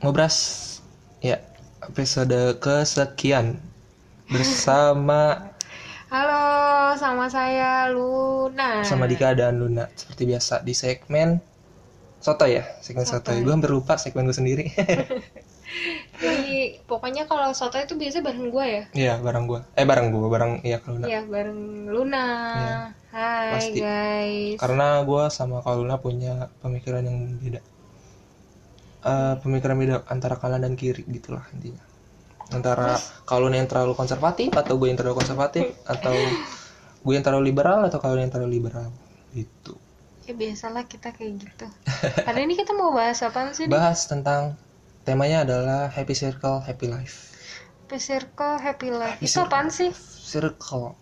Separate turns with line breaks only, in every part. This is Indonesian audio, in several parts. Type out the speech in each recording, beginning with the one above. Obras ya episode kesekian bersama
Halo, sama saya Luna.
sama Dika dan Luna seperti biasa di segmen soto ya segmen soto,
Sotoy.
gue hampir lupa segmen gue sendiri
Jadi, pokoknya kalau soto itu biasanya bareng gue ya.
Iya bareng gue eh bareng gue bareng ya Luna
Iya, bareng Luna.
Iya,
Hai
pasti.
guys.
karena gue sama Kak Luna punya pemikiran yang beda Eh, pemikiran beda antara kanan dan kiri gitulah intinya antara Kak Luna yang terlalu konservatif atau gue yang terlalu konservatif atau gue yang terlalu liberal atau Kak Luna yang terlalu liberal gitu
Ya biasalah kita kayak gitu. Hari ini kita mau bahas apa sih? Di?
bahas tentang temanya adalah happy circle happy life
Happy Circle Happy Life.
Happy
Itu apaan sih?
circle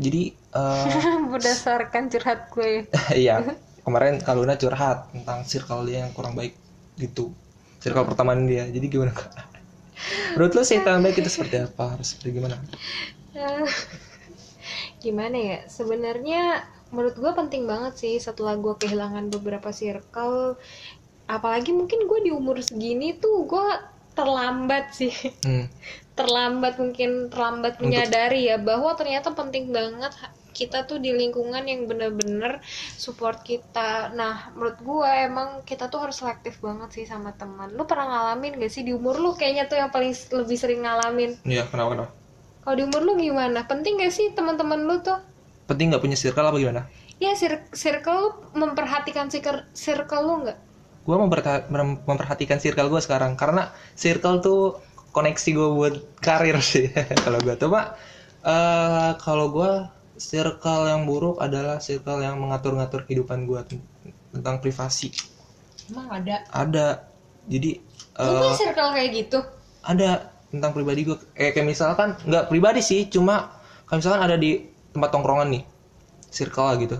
jadi eh,
Berdasarkan curhat gue.
Iya, kemarin Kaluna curhat tentang circle dia yang kurang baik gitu. Circle pertemanan dia. Jadi gimana Kak? Menurut lu sih yang baik itu seperti apa? Harus seperti gimana?
Eh, Gimana ya? Sebenarnya menurut gue penting banget sih setelah gue kehilangan beberapa circle. Apalagi mungkin gue di umur segini tuh gue terlambat sih.
Hmm,
terlambat mungkin terlambat
Untuk-
menyadari ya bahwa ternyata penting banget ha- kita tuh di lingkungan yang bener-bener support kita. Nah, menurut gua emang kita tuh harus selektif banget sih sama teman. Lu pernah ngalamin gak sih di umur lu kayaknya tuh yang paling s- lebih sering ngalamin.
iya kenapa kenapa?
Kalau di umur lu gimana? Penting gak sih teman-teman lu tuh?
Penting nggak punya circle apa gimana?
Ya sir- circle lu memperhatikan sikir- circle lu nggak?
Gua memperta- mem- memperhatikan circle gua sekarang karena circle tuh koneksi gua buat karir sih kalau gua tuh Pak. eh, kalau gua circle yang buruk adalah circle yang mengatur-ngatur kehidupan gua ten- tentang privasi.
Emang ada.
Ada. Jadi
Lu
eh,
punya circle kayak gitu?
ada tentang pribadi gue kayak, kayak misalkan nggak pribadi sih cuma kayak misalkan ada di tempat tongkrongan nih circle lah gitu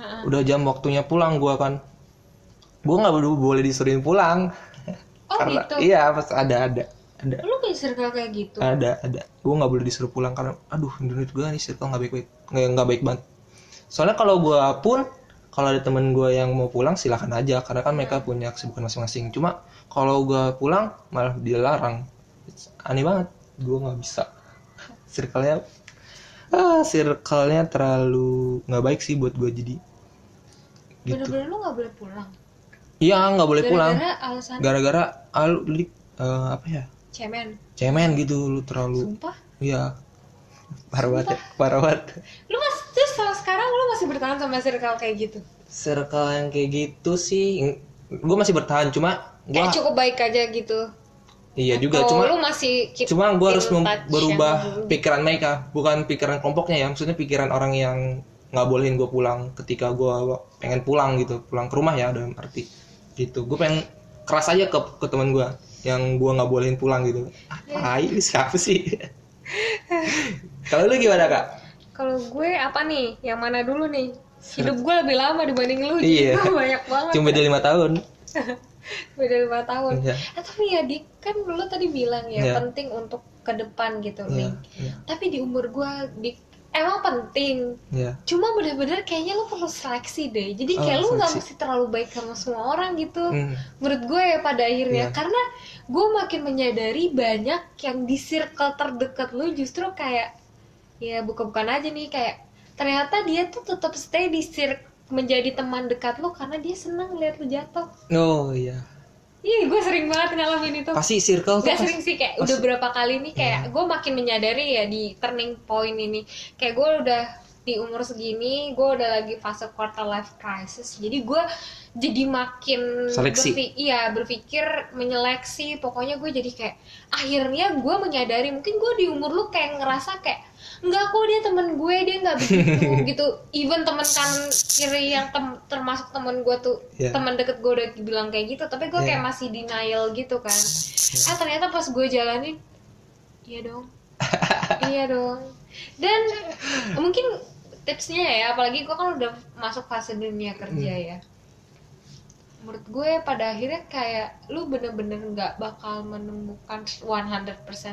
Heeh.
udah jam waktunya pulang gue kan gue nggak bo- boleh disuruhin pulang
Oh
karena
gitu.
iya pas ada ada ada
Lu punya circle kayak gitu?
ada ada gue nggak boleh disuruh pulang karena aduh menurut gue nih circle nggak baik baik nggak nggak baik banget soalnya kalau gue pun kalau ada temen gue yang mau pulang silahkan aja karena kan mereka
Hmm.
punya kesibukan masing-masing cuma kalau gue pulang malah dilarang aneh banget gue nggak bisa circle-nya ah circle-nya terlalu nggak baik sih buat gue jadi gitu
Bener-bener lu nggak boleh pulang.
iya nggak boleh pulang
Gara-gara alasan
gara-gara al li- eh, apa ya
cemen.
cemen gitu lu terlalu
Sumpah.
Iya. Parah banget, ya, parah banget.
Lu masih terus sama sekarang lu masih bertahan sama circle kayak gitu.
Circle yang kayak gitu sih, gue masih bertahan cuma
Kayak
gua
cukup baik aja gitu.
iya juga
Atau
cuma
lu masih keep
cuma gue harus
in
mem-
touch yang
berubah
dulu.
pikiran mereka, bukan pikiran kelompoknya ya, maksudnya pikiran orang yang nggak bolehin gue pulang ketika gue pengen pulang gitu, pulang ke rumah ya dalam arti gitu. Gue pengen keras aja ke ke teman gue yang gue nggak bolehin pulang gitu.
Iya.
Ah, tai, siapa sih? Kalau lu gimana kak?
Kalau gue apa nih? Yang mana dulu nih? Hidup gue lebih lama dibanding lu.
Iya.
Jadi gue banyak banget.
Cuma dia lima tahun.
Beda 5 tahun.
Iya.
Ah, tapi ya Dik, kan lu tadi bilang ya
Iya.
penting untuk ke depan gitu
Iya,
nih.
iya,
Tapi di umur gue Dik emang penting.
iya.
Cuma bener-bener kayaknya lu perlu seleksi deh. Jadi
Oh,
kayak lu nggak
seleksi.
mesti terlalu baik sama semua orang gitu.
Hmm.
menurut gue ya pada akhirnya
Iya.
karena gue makin menyadari banyak yang di circle terdekat lu justru kayak ya bukan-bukan aja nih kayak ternyata dia tuh tetap stay di circle menjadi teman dekat lu karena dia senang lihat lu jatuh
Oh iya.
iya gue sering banget ngalamin itu
Pasti circle tuh
Gak
pasti-
sering sih kayak udah berapa kali nih kayak
Hmm.
gue makin menyadari ya di turning point ini kayak gue udah di umur segini gue udah lagi fase quarter life crisis jadi gue jadi makin
Seleksi.
berfi- iya berpikir menyeleksi pokoknya gue jadi kayak akhirnya gue menyadari mungkin gue di umur lu kayak ngerasa kayak Enggak kok dia temen gue dia nggak begitu gitu even temen kan kiri yang tem- termasuk temen gue tuh
Iya.
teman deket gue udah bilang kayak gitu tapi gue
Iya.
kayak masih denial gitu kan ah ternyata pas gue jalanin iya dong iya dong dan mungkin tipsnya ya apalagi gue kan udah masuk fase dunia kerja ya menurut gue pada akhirnya kayak lu bener-bener nggak bakal menemukan 100%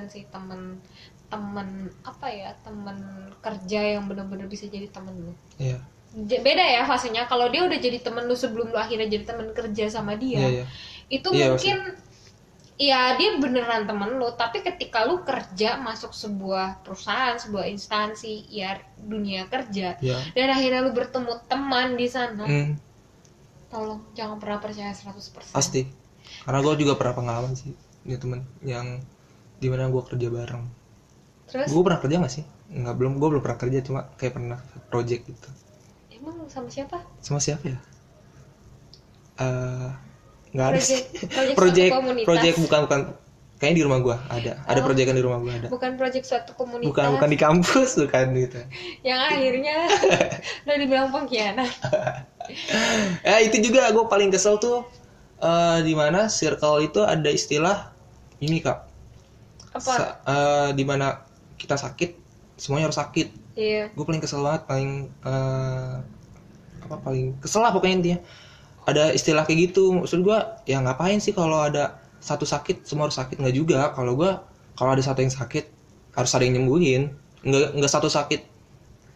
sih temen temen apa ya temen kerja yang bener-bener bisa jadi temen lu
Iya.
J- beda ya fasenya kalau dia udah jadi temen lu sebelum lu akhirnya jadi temen kerja sama dia
Iya, iya.
itu
Iya,
mungkin Iya dia beneran temen lo, tapi ketika lu kerja masuk sebuah perusahaan, sebuah instansi, ya dunia kerja,
ya
dan akhirnya lu bertemu teman di sana,
Hmm,
tolong jangan pernah percaya 100%.
pasti karena gue juga pernah pengalaman sih ya temen yang dimana gue kerja bareng
Terus
gue pernah kerja gak sih nggak belum gue belum pernah kerja cuma kayak pernah project gitu
emang sama siapa?
sama siapa ya Eh, nggak ada sih
Project, project,
project
suatu komunitas.
project bukan bukan kayaknya di rumah gua ada ada
Oh.
proyekan di rumah gua ada
bukan project suatu komunitas
bukan bukan di kampus bukan gitu
yang akhirnya udah dibilang pengkhianat.
eh itu juga gua paling kesel tuh eh di mana circle itu ada istilah ini kak
Apa?
Sa- eh, di mana kita sakit semuanya harus sakit
Iya.
gue paling kesel banget paling eh, apa paling kesel lah pokoknya intinya ada istilah kayak gitu maksud gue ya ngapain sih kalau ada satu sakit semua harus sakit nggak juga kalau gue kalau ada satu yang sakit harus ada yang nyembuhin nggak nggak satu sakit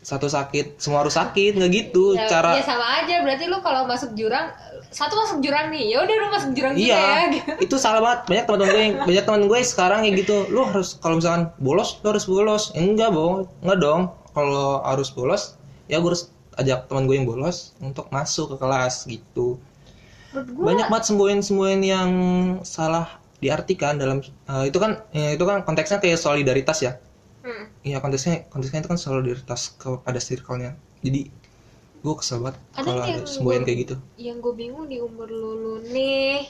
satu sakit semua harus sakit nggak gitu
Ya,
cara
ya sama aja berarti lu kalau masuk jurang satu masuk jurang nih ya udah lu masuk jurang
Iya,
juga ya
itu salah banget. Banyak teman-teman gue, yang, banyak teman gue sekarang ya gitu. Lu harus kalau misalkan bolos, lu harus bolos. Eh, enggak, bohong. Enggak dong. Kalau harus bolos, ya gue harus ajak teman gue yang bolos untuk masuk ke kelas gitu.
Menurut gua,
Banyak banget semboyan-semboyan yang salah diartikan dalam eh, itu kan eh, itu kan konteksnya kayak solidaritas ya.
hmm,
Iya, konteksnya konteksnya itu kan solidaritas kepada circle-nya. Jadi gue kesel banget
Ada
kalau
yang
ada semboyan
gua-
kayak gitu.
yang gue bingung di umur lu, lu nih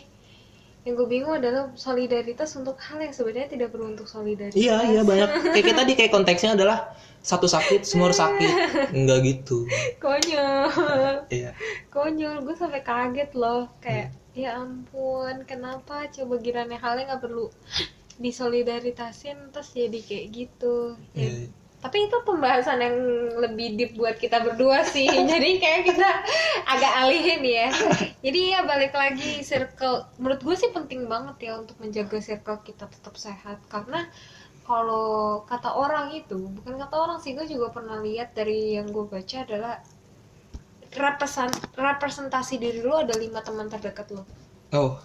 yang gue bingung adalah solidaritas untuk hal yang sebenarnya tidak perlu untuk solidaritas
Iya, iya banyak. Kayak, kayak tadi kayak konteksnya adalah satu sakit semua harus sakit. Enggak gitu.
konyol
Iya.
konyol gue sampai kaget loh kayak
Hmm.
ya ampun kenapa coba girannya halnya nggak perlu disolidaritasin terus jadi kayak gitu ya
Iya.
Tapi itu pembahasan yang lebih deep buat kita berdua sih. Jadi kayak kita agak alihin ya. Jadi ya balik lagi circle. Menurut gue sih penting banget ya untuk menjaga circle kita tetap sehat. Karena kalau kata orang itu, bukan kata orang sih, gue juga pernah lihat dari yang gue baca adalah represen- representasi diri lu ada lima teman terdekat lo.
Oh,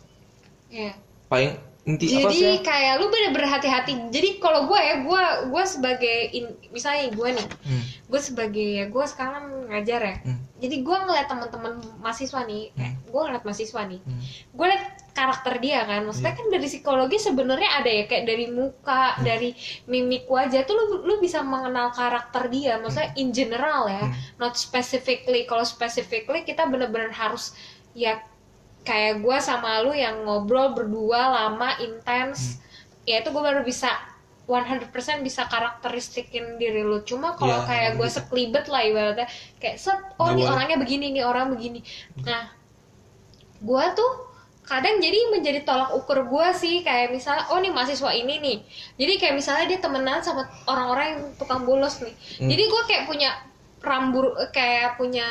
Iya.
paling inti apa sih?
Jadi kayak lu bener berhati-hati. Jadi kalau gue ya, gue gue sebagai in- misalnya gue nih,
Hmm,
gue sebagai ya gue sekarang ngajar ya
hmm,
jadi gue ngeliat teman-teman mahasiswa nih eh, gue ngeliat mahasiswa nih
hmm.
gue liat karakter dia kan maksudnya kan dari psikologi sebenarnya ada ya kayak dari muka dari mimik wajah tuh lu lu bisa mengenal karakter dia maksudnya in general ya
Hmm.
not specifically kalau specifically kita bener-bener harus ya kayak gue sama lu yang ngobrol berdua lama intens
Hmm.
ya itu gue baru bisa 100% bisa karakteristikin diri lu cuma kalau
Ya,
kayak gue
gitu.
sekelibet lah ibaratnya kayak set oh
Nggak
nih
boleh. Hmm.
orangnya begini nih orang begini nah gue tuh kadang jadi menjadi tolak ukur gue sih kayak misalnya oh nih mahasiswa ini nih jadi kayak misalnya dia temenan sama orang-orang yang tukang bolos nih
Hmm.
jadi gue kayak punya rambu kayak punya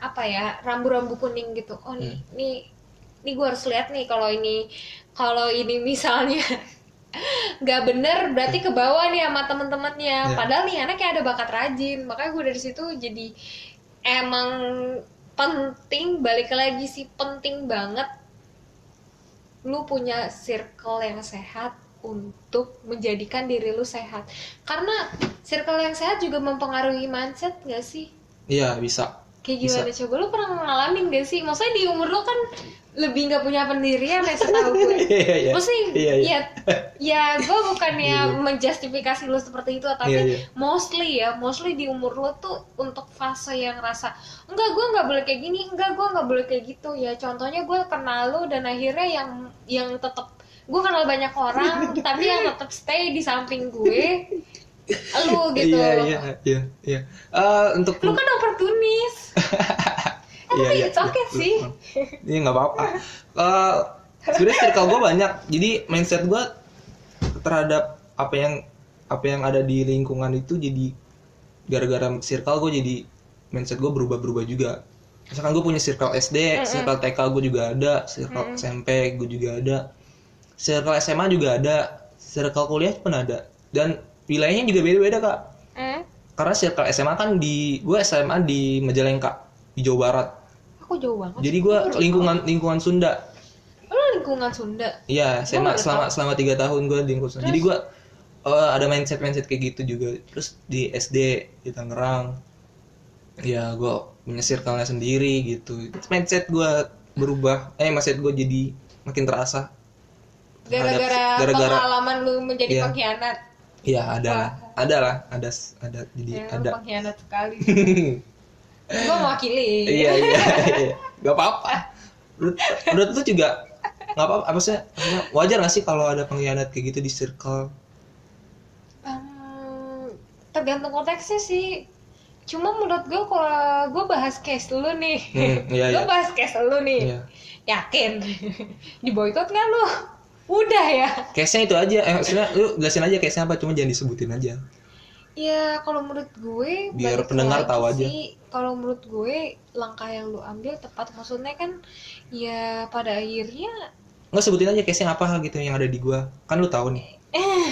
apa ya rambu-rambu kuning gitu oh nih nih nih gue harus lihat nih kalau ini kalau ini misalnya nggak bener berarti ke bawah nih sama
Ya.
temen-temennya padahal nih anak kayak ada bakat rajin makanya gue dari situ jadi emang penting balik lagi sih penting banget lu punya circle yang sehat untuk menjadikan diri lu sehat karena circle yang sehat juga mempengaruhi mindset gak sih
Iya, bisa.
kayak gimana coba lu pernah ngalamin gak sih maksudnya di umur lu kan lebih nggak punya pendirian ya setahu gue
Iya, iya.
maksudnya
Iya, iya.
ya ya gue bukannya menjustifikasi lu seperti itu tapi
Iya, iya.
mostly ya mostly di umur lu tuh untuk fase yang rasa enggak gue nggak boleh kayak gini enggak gue nggak boleh kayak gitu ya contohnya gue kenal lu dan akhirnya yang yang tetap gue kenal banyak orang tapi yang tetap stay di samping gue lu gitu
Iya, iya, iya, iya. Eh, untuk
lu kan oportunis Eh,
Iya,
tapi
iya,
it's okay
iya.
sih
Iya nggak apa-apa. Eh, sebenarnya circle gue banyak. Jadi mindset gue terhadap apa yang apa yang ada di lingkungan itu jadi gara-gara circle gue jadi mindset gue berubah-berubah juga. Misalkan gue punya circle SD, circle TK gue juga ada, circle SMP gue juga ada, circle SMA juga ada, circle kuliah pun ada. Dan wilayahnya juga beda-beda kak.
Eh,
Karena circle SMA kan di gue SMA di Majalengka di Jawa Barat.
aku jauh banget
Jadi gue lingkungan lingkungan Sunda.
lu lingkungan Sunda
Iya, selama
baru
selama selama tiga tahun gue di lingkup Sunda. Jadi gue eh, ada mindset mindset kayak gitu juga. Terus di SD di Tangerang, ya gue punya circle-nya sendiri gitu. Mindset gue berubah. Eh, mindset gue jadi makin terasa.
gara-gara
Terhadap- gara-gara-
pengalaman lu menjadi
Iya.
pengkhianat
Iya ada lah, ada lah, ada ada jadi
ya, lu
ada.
pengkhianat sekali gua mewakili
iya iya iya nggak apa-apa menurut menurut lu juga nggak apa-apa apa sih wajar gak sih kalau ada pengkhianat kayak gitu di circle
Em, tergantung konteksnya sih cuma menurut gua kalau gua bahas case lu nih
Hmm, iya,
gua
iya.
bahas case lu nih
Iya.
yakin di boykot nggak lu udah ya
case-nya itu aja eh, maksudnya lu jelasin aja case-nya apa cuma jangan disebutin aja
Ya kalau menurut gue
Biar
balik
pendengar
lagi
tahu aja.
sih, Kalau menurut gue langkah yang lu ambil tepat maksudnya kan ya pada akhirnya
nggak sebutin aja case-nya apa gitu yang ada di gua kan lu tahu nih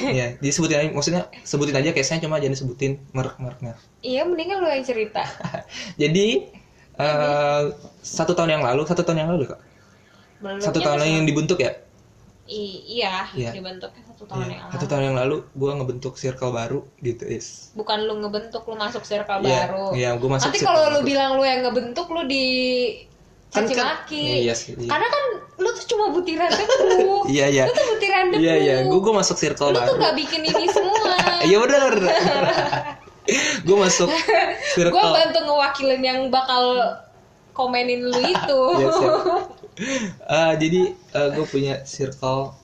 Iya, jadi sebutin aja, maksudnya sebutin aja case-nya cuma jangan disebutin merek-mereknya.
iya mendingan lu yang cerita.
Jadi eh, satu tahun yang lalu, satu tahun yang lalu kak,
Belumnya
satu tahun
masih-
yang dibentuk ya,
I- iya,
Iya.
dibentuknya satu
Iya,
tahun yang
satu
lalu.
tahun yang lalu gua ngebentuk circle baru gitu is.
Bukan lu ngebentuk lu masuk
Iya,
circle baru.
Iya, gua masuk
Nanti
circle
kalau lu
baru.
bilang lu yang ngebentuk lu di
Kan-
caci
kan-
maki.
Iya, sih, iya.
Karena kan lu tuh cuma butiran debu.
Iya, iya.
Lu tuh butiran debu.
Iya, iya. Gua gua masuk circle
Lu
baru.
tuh gak bikin ini semua.
Iya benar. gua masuk circle.
gue bantu ngewakilin yang bakal komenin lu itu
Iya, siap. Eh, jadi gue punya circle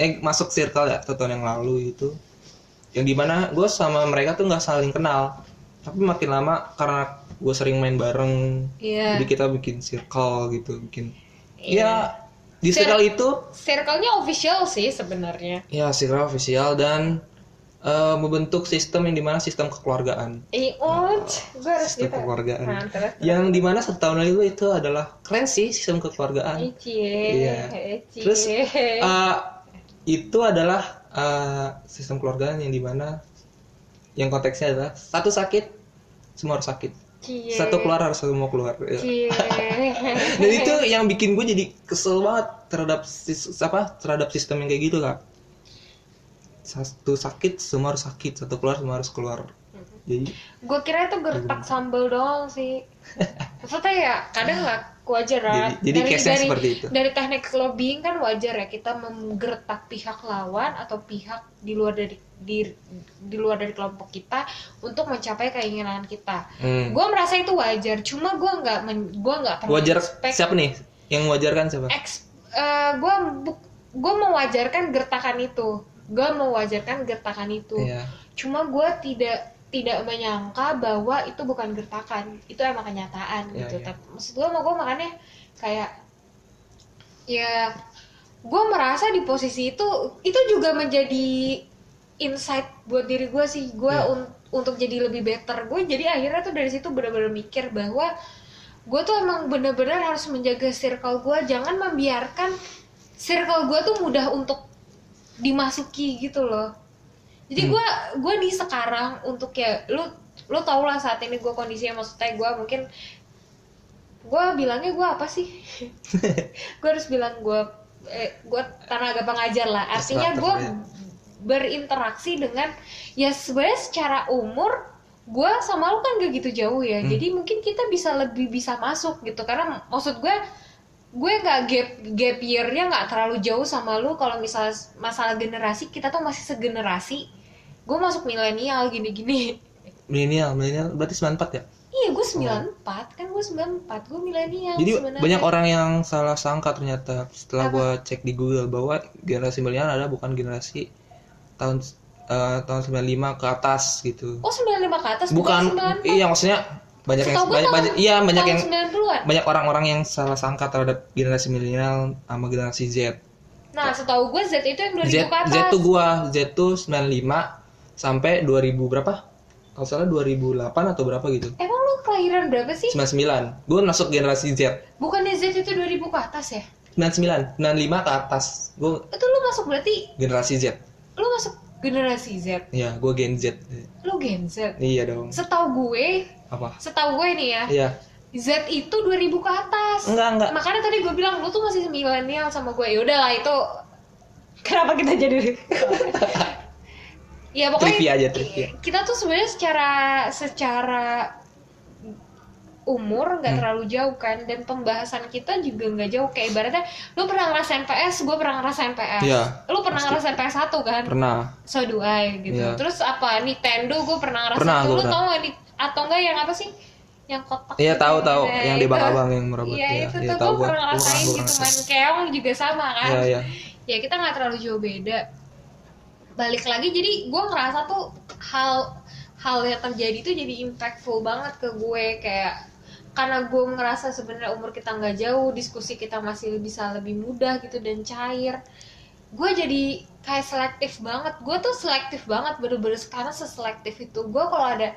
eh masuk circle ya satu tahun yang lalu itu yang dimana gue sama mereka tuh nggak saling kenal tapi makin lama karena gue sering main bareng
Iya.
jadi kita bikin circle gitu bikin
Iya.
ya di
Cir-
circle itu
circle-nya official sih sebenarnya
ya circle official dan eh, membentuk sistem yang dimana sistem kekeluargaan
eh oh gue harus
sistem
gitu
kekeluargaan
nah terus
yang dimana satu tahun lalu itu adalah keren sih sistem kekeluargaan
Eh, cie
Iya.
eh, cie.
Terus, Eh, itu adalah eh, sistem keluarga yang dimana yang konteksnya adalah satu sakit semua harus sakit
cie
satu keluar harus semua keluar ya.
cie
dan itu yang bikin gue jadi kesel banget terhadap sis- apa terhadap sistem yang kayak gitu kak satu sakit semua harus sakit satu keluar semua harus keluar
Mm-hmm.
jadi
gue kira itu gertak sambal doang sih maksudnya ya kadang nggak wajar lah
Jadi- jadi case-nya seperti itu.
dari teknik lobbying kan wajar ya kita menggertak pihak lawan atau pihak di luar dari di, di luar dari kelompok kita untuk mencapai keinginan kita
hmm.
gue merasa itu wajar cuma gue nggak men- gua nggak pernah
wajar
expect-
siapa nih yang wajar kan siapa
ex gue gue mewajarkan gertakan itu gue mewajarkan gertakan itu
Iya.
cuma gue tidak tidak menyangka bahwa itu bukan gertakan itu emang kenyataan
Iya,
gitu
iya.
tapi maksud gue mau gue makanya kayak ya gue merasa di posisi itu itu juga menjadi insight buat diri gue sih gue
Iya.
un- untuk jadi lebih better gue jadi akhirnya tuh dari situ bener-bener mikir bahwa gue tuh emang bener-bener harus menjaga circle gue jangan membiarkan circle gue tuh mudah untuk dimasuki gitu loh jadi gue gue di sekarang untuk ya lu lu tau lah saat ini gue kondisinya maksudnya gue mungkin gue bilangnya gue apa sih gue harus bilang gue eh, gue tenaga pengajar lah artinya gue
Instructor,
berinteraksi dengan ya sebenarnya secara umur gue sama lu kan gak gitu jauh ya
Hmm.
jadi mungkin kita bisa lebih bisa masuk gitu karena maksud gue gue nggak gap gap year-nya nggak terlalu jauh sama lu kalau misalnya s- masalah generasi kita tuh masih segenerasi gue masuk milenial gini-gini
milenial milenial berarti 94 ya
iya gue 94 kan gue 94 gue milenial
Oh. Jadi
Iya, sebenarnya.
banyak orang yang salah sangka ternyata setelah gua cek di Google bahwa generasi milenial adalah bukan generasi tahun eh, tahun 95 ke atas gitu.
oh 95 ke atas
bukan
bukan 94
iya maksudnya banyak yang
Setahu gua
banyak,
tahun-
banyak iya banyak
tahun
yang
90-an
banyak orang-orang yang salah sangka terhadap generasi milenial sama generasi Z.
nah setahu gue Z itu yang 2000
Z
ke atas
Z tuh gua Z tuh 95 sampai 2000 berapa? Kalau salah 2008 atau berapa gitu.
emang lu kelahiran berapa sih
99. Gua masuk generasi Z.
bukannya Z itu 2000 ke atas ya
99, 95 ke atas. Gua
itu lu masuk berarti
generasi Z.
lu masuk generasi Z
Ya, gue Gen Z.
lu Gen Z
Iya dong.
setahu gue
Apa?
setahu gue nih ya
Iya. Hmm.
Z itu 2000 ke atas.
Enggak, enggak.
Makanya tadi gue bilang lu tuh masih milenial sama gue. Ya udahlah itu kenapa kita jadi Ya pokoknya
Trivia aja, trivia.
kita tuh sebenarnya secara secara umur
Hmm.
nggak terlalu jauh kan dan pembahasan kita juga nggak jauh kayak ibaratnya lu pernah ngerasain PS, gue pernah ngerasain PS.
Iya,
Lu pernah
pasti.
ngerasain PS 1 kan?
Pernah.
So do I gitu.
Iya.
Terus apa Nintendo gue pernah ngerasain
Pernah,
tuh,
gua
lu
pernah.
tau gak nih atau enggak yang apa sih? Yang kotak.
Iya,
gitu.
tahu tahu
Nah,
yang di
itu.
abang-abang yang merobot.
Iya, itu
iya,
tuh
tahu
gue
gua.
pernah
Gua pernah,
ngerasain
gua
gitu
pernah
main keong juga sama kan.
Iya, iya.
Ya kita nggak terlalu jauh beda. Balik lagi jadi gue ngerasa tuh hal hal yang terjadi tuh jadi impactful banget ke gue kayak karena gue ngerasa sebenarnya umur kita nggak jauh diskusi kita masih bisa lebih mudah gitu dan cair gue jadi kayak selektif banget gue tuh selektif banget bener-bener sekarang seselektif itu gue kalau ada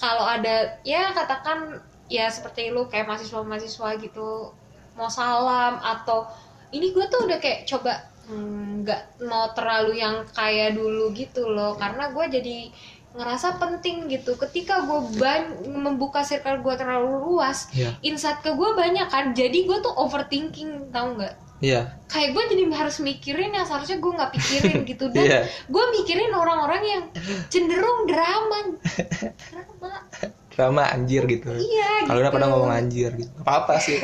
kalau ada ya katakan ya seperti lu kayak mahasiswa-mahasiswa gitu mau salam atau ini gue tuh udah kayak coba hmm, nggak mau terlalu yang kayak dulu gitu loh karena gue jadi ngerasa penting gitu ketika gue ban- membuka circle gue terlalu luas
Iya.
insight ke gue banyak kan jadi gue tuh overthinking tau nggak
Iya.
kayak gue jadi harus mikirin yang seharusnya gue nggak pikirin gitu dan
Iya.
gue mikirin orang-orang yang cenderung drama drama
Drama anjir gitu.
iya
Kalau udah
gitu.
pada ngomong anjir gitu. Apa-apa sih.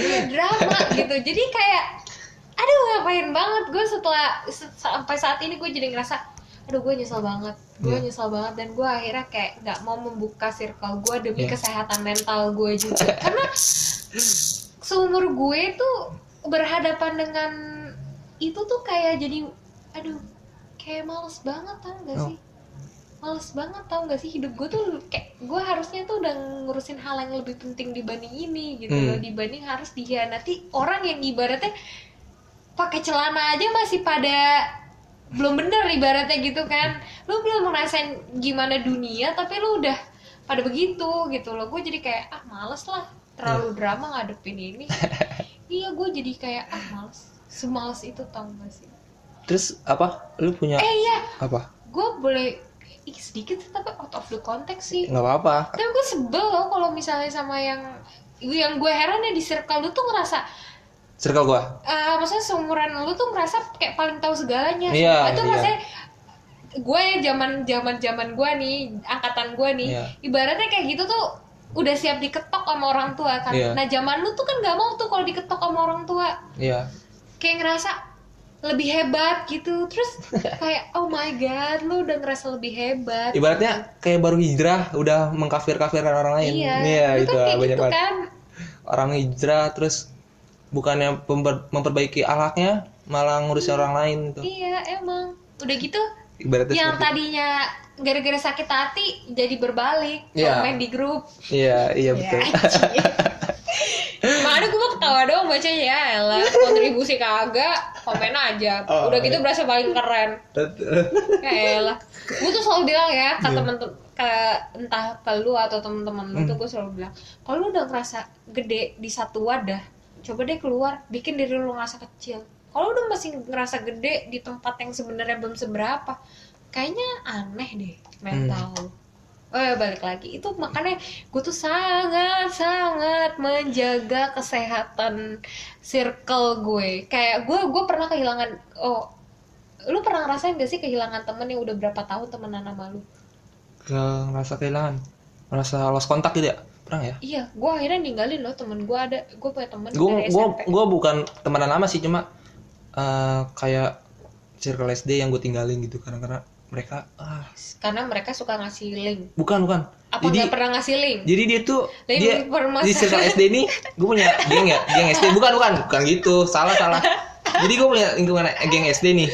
Iya, drama gitu jadi kayak aduh ngapain banget gue setelah se- sampai saat ini gue jadi ngerasa aduh gue nyesel banget gue
Iya.
nyesel banget dan gue akhirnya kayak nggak mau membuka circle gue demi
Iya.
kesehatan mental gue juga karena seumur gue tuh berhadapan dengan itu tuh kayak jadi aduh kayak males banget tau gak
Oh.
sih males banget tau gak sih hidup gue tuh kayak gue harusnya tuh udah ngurusin hal yang lebih penting dibanding ini gitu
Hmm.
loh dibanding harus dihianati orang yang ibaratnya pakai celana aja masih pada belum bener ibaratnya gitu kan lu belum ngerasain gimana dunia tapi lu udah pada begitu gitu loh gue jadi kayak ah males lah terlalu drama ngadepin ini iya gue jadi kayak ah males semales itu tau gak sih
Terus apa? Lu punya
eh iya
apa?
gue boleh ih, sedikit sih, tapi out of the context sih
nggak apa-apa.
tapi gue sebel loh kalau misalnya sama yang yang gue heran ya di circle lu tuh ngerasa
Circle gua.
eh, maksudnya seumuran lu tuh ngerasa kayak paling tahu segalanya
Iya,
itu
iya.
rasanya gue ya zaman zaman zaman gue nih angkatan gue nih
Iya.
ibaratnya kayak gitu tuh udah siap diketok sama orang tua kan
Iya.
nah zaman lu tuh kan nggak mau tuh kalau diketok sama orang tua
Iya.
kayak ngerasa lebih hebat gitu terus kayak oh my god lu udah ngerasa lebih hebat
Ibaratnya kayak baru hijrah udah mengkafir-kafirkan orang lain.
iya lu
gitu
kan
lah,
kayak
banyak
gitu
banget.
kan
Orang hijrah terus bukannya pember- memperbaiki akhlaknya malah ngurusin orang lain gitu.
iya emang udah gitu
Ibaratnya
yang
seperti-
tadinya gara-gara sakit hati jadi berbalik
Iya.
komen di grup
Iya, iya betul.
Mana gue ketawa doang bacanya ya elah kontribusi kagak komen aja
Oh,
udah gitu berasa paling keren ya elah gue tuh selalu bilang ya ke temen temen ke entah ke lu atau temen-temen lu tuh gue selalu bilang kalau lu udah ngerasa gede di satu wadah coba deh keluar bikin diri lu ngerasa kecil kalau lu udah masih ngerasa gede di tempat yang sebenarnya belum seberapa kayaknya aneh deh mental lu Oh ya, balik lagi itu makanya gue tuh sangat sangat menjaga kesehatan circle gue kayak gue gue pernah kehilangan oh lu pernah ngerasain gak sih kehilangan temen yang udah berapa tahun temenan sama lu?
Ke ngerasa kehilangan. Merasa lost kontak gitu ya? Pernah ya?
Iya, gue akhirnya ninggalin loh temen gue ada, gue punya temen
gue
dari
gue
SMP.
gue bukan temenan lama sih cuma eh, kayak circle SD yang gue tinggalin gitu karena karena mereka ah
Karena mereka suka ngasih link.
bukan bukan
Apa
jadi
nggak pernah ngasih link?
jadi dia tuh
Lain
dia
permasalahan.
di circle SD ini gue punya geng ya geng SD bukan bukan bukan gitu salah salah jadi gue punya lingkungan geng SD nih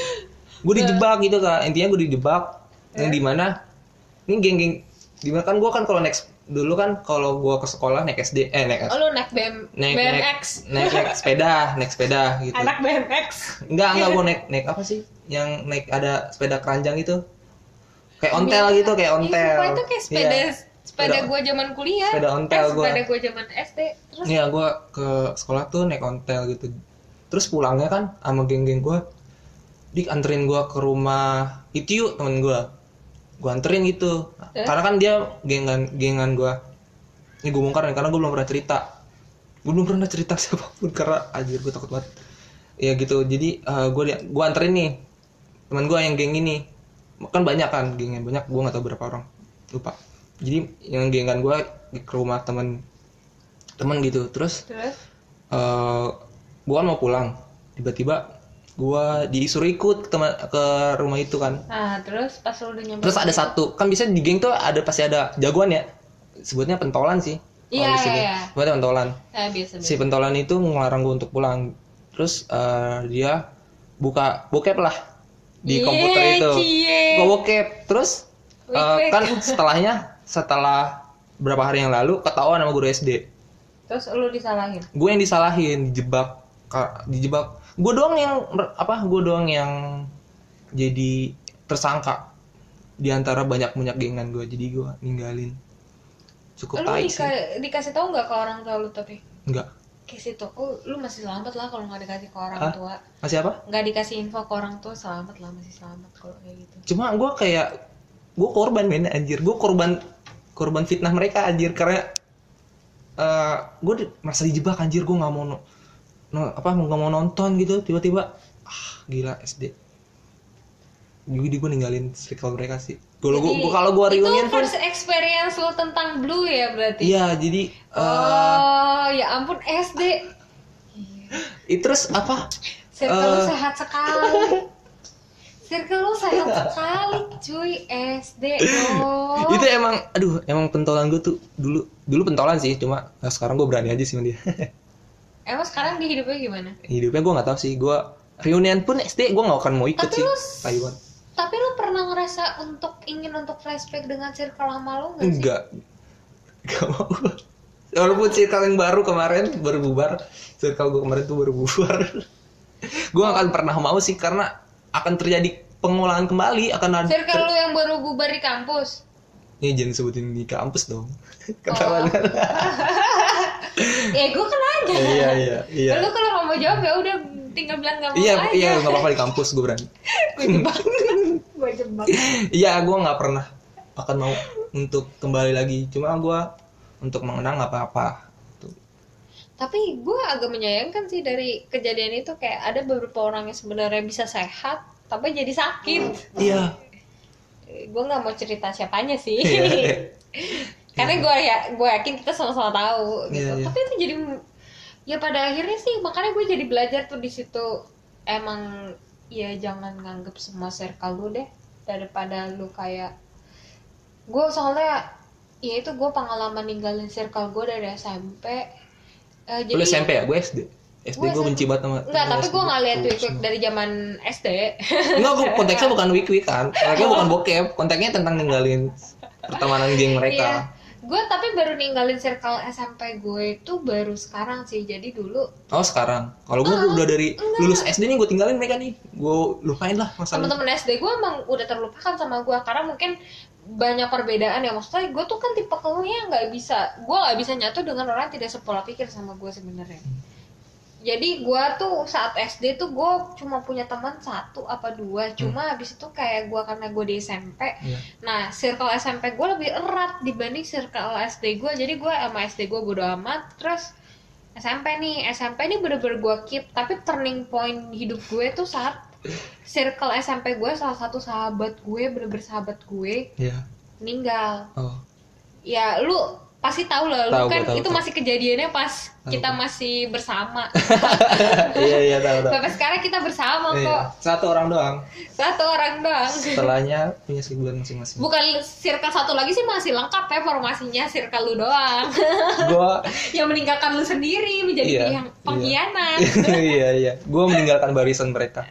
gue dijebak gitu kak intinya gue dijebak yang di mana ini geng-geng di mana kan gue kan kalau next dulu kan kalau gue ke sekolah naik SD eh naik
Oh lu naik BM,
naik naik,
BMX,
naik naik sepeda naik sepeda gitu
anak BMX.
Enggak, enggak gue naik naik apa sih? Yang naik ada sepeda keranjang itu. Kayak ontel gitu, kayak
Ih,
ontel.
sumpah, Iya. itu kayak sepeda,
Iya.
sepeda
Sepeda-
gue zaman kuliah.
sepeda ontel
eh,
gua.
Sepeda gue zaman SD. Terus
Iya, gue ke sekolah tuh naik ontel gitu. Terus pulangnya kan sama geng-geng gue, dik anterin gue ke rumah itu yuk temen gue. Gue anterin gitu,
Eh?
karena kan dia gengan gengan gue. ini gue bongkar nih karena gue belum pernah cerita gue belum pernah cerita siapapun karena anjir gue takut banget ya gitu jadi eh, gue dia gue anterin nih teman gue yang geng ini kan banyak kan gengnya banyak gue nggak tahu berapa orang lupa jadi yang gengan gue ke rumah temen temen gitu terus
Terus?
eh gue kan mau pulang tiba-tiba gue disuruh ikut ke, teman, ke rumah itu kan
Nah, terus pas lu udah nyampe.
terus ada satu kan bisa di geng tuh ada pasti ada jagoan ya sebutnya pentolan sih
Iya,
kalau di
iya,
sini
iya.
Sebutnya pentolan
Nah, biasa biasa.
si pentolan itu ngelarang gue untuk pulang terus eh, dia buka bokep lah
Iya,
di komputer itu
Cie.
buka bokep terus eh,
Wik-wik.
kan setelahnya setelah berapa hari yang lalu ketahuan sama guru SD
Terus lu disalahin.
gue yang disalahin dijebak Ka- dijebak gue doang yang mer- apa gue doang yang jadi tersangka di antara banyak banyak gengan gue jadi gue ninggalin cukup
Lu
tai
dika
sih
dikasih tahu nggak ke orang tua lu tapi?
enggak
Ke situ. Oh, lu masih selamat lah kalau nggak dikasih ke orang
Hah?
tua.
masih apa
Nggak dikasih info ke orang tua selamat lah masih selamat kalau kayak gitu.
cuma gue kayak gue korban men anjir gue korban korban fitnah mereka anjir karena gue merasa dijebak anjir gue nggak mau no, no- apa nggak mau nonton gitu tiba-tiba ah gila SD jadi gue ninggalin circle mereka sih kalau gue
Jadi,
gua- kalau gue reunion
Itu kan
pun
first experience lu tentang Blue ya berarti?
iya jadi eh
Oh, ya ampun SD. Oh.
itu terus apa
Circle lu
Eh.
sehat sekali. Circle lu sehat sekali, cuy. SD dong.
itu emang aduh emang pentolan gue tuh dulu dulu pentolan sih cuma nah, sekarang gue berani aja sih sama dia
Emang sekarang di hidupnya gimana?
hidupnya gue nggak tahu sih gue reunian pun SD gue nggak akan mau ikut
Tapi
sih
lu
Taiwan
Tapi lu pernah ngerasa untuk ingin untuk flashback dengan circle lama lu nggak sih?
enggak enggak mau gua. walaupun circle yang baru kemarin baru bubar circle gue kemarin tuh baru bubar gue akan pernah mau sih karena akan terjadi pengulangan kembali akan ada
Circle lu yang baru bubar di kampus.
ya jangan sebutin di kampus dong
Oh.
ketahuan
ya gue kan ada.
iya iya iya
Lu kalau nggak mau jawab ya udah tinggal bilang nggak mau
iya
aja. Gitu
iya nggak apa-apa di kampus gue berani
gue jebak. gue jebak.
Iya, gue nggak pernah akan mau untuk kembali lagi. Cuma gue untuk mengenang nggak apa-apa. Tuh.
Oh, Tapi gue agak menyayangkan sih dari kejadian itu kayak ada beberapa orang yang sebenarnya bisa sehat tapi jadi sakit.
Iya.
Gue nggak mau cerita siapanya sih.
Hmm. Iya.
Karena gue ya gue yakin kita sama-sama tahu gitu.
Iya, iya.
Tapi itu jadi ya pada akhirnya sih makanya gue jadi belajar tuh di situ emang ya jangan nganggep semua circle lu deh daripada lu kayak gue soalnya ya itu gue pengalaman ninggalin circle gue dari SMP. Eh,
Lu SMP ya? Gue SD. SD
Gua
gue
SMP.
benci banget sama.
Enggak, tapi
SD.
gue ngeliat Week Week dari zaman SD.
Enggak, gua konteksnya bukan week week kan. Konteksnya bukan bokep. Konteksnya tentang ninggalin pertemanan geng
Iya.
mereka.
Gue tapi baru ninggalin circle SMP gue itu baru sekarang sih. Jadi dulu
Oh sekarang, kalau
Ah,
gue udah dari lulus SD nih gue tinggalin mereka nih, gue lupain lah masa lalu.
teman-teman SD gue emang udah terlupakan sama gue karena mungkin banyak perbedaan ya maksudnya gue tuh kan tipe keluarnya nggak bisa gue nggak bisa nyatu dengan orang yang tidak sepola pikir sama gue sebenarnya jadi gue tuh saat SD tuh gue cuma punya teman satu apa dua cuma habis itu kayak gue karena gue di SMP
Iya.
nah circle SMP gue lebih erat dibanding circle SD gue jadi gue sama SD gue bodo amat terus SMP nih SMP nih bener-bener gue keep tapi turning point hidup gue tuh saat circle SMP gue salah satu sahabat gue bener-bener sahabat gue
Iya.
meninggal
Oh.
ya lu pasti tahu lah lu
Tahu,
kan
gua tahu,
itu
tahu.
masih kejadiannya pas
Tahu,
kita
gua.
masih bersama
Iya iya tahu tahu.
sampai sekarang kita bersama
Iya.
kok
Satu orang doang.
satu orang doang
Setelahnya punya kesibukan masing-masing.
bukan circle satu lagi sih masih lengkap ya formasinya circle lu doang
Gue
yang meninggalkan lu sendiri menjadi
Iya,
pihak pengkhianat
iya iya gue meninggalkan barisan mereka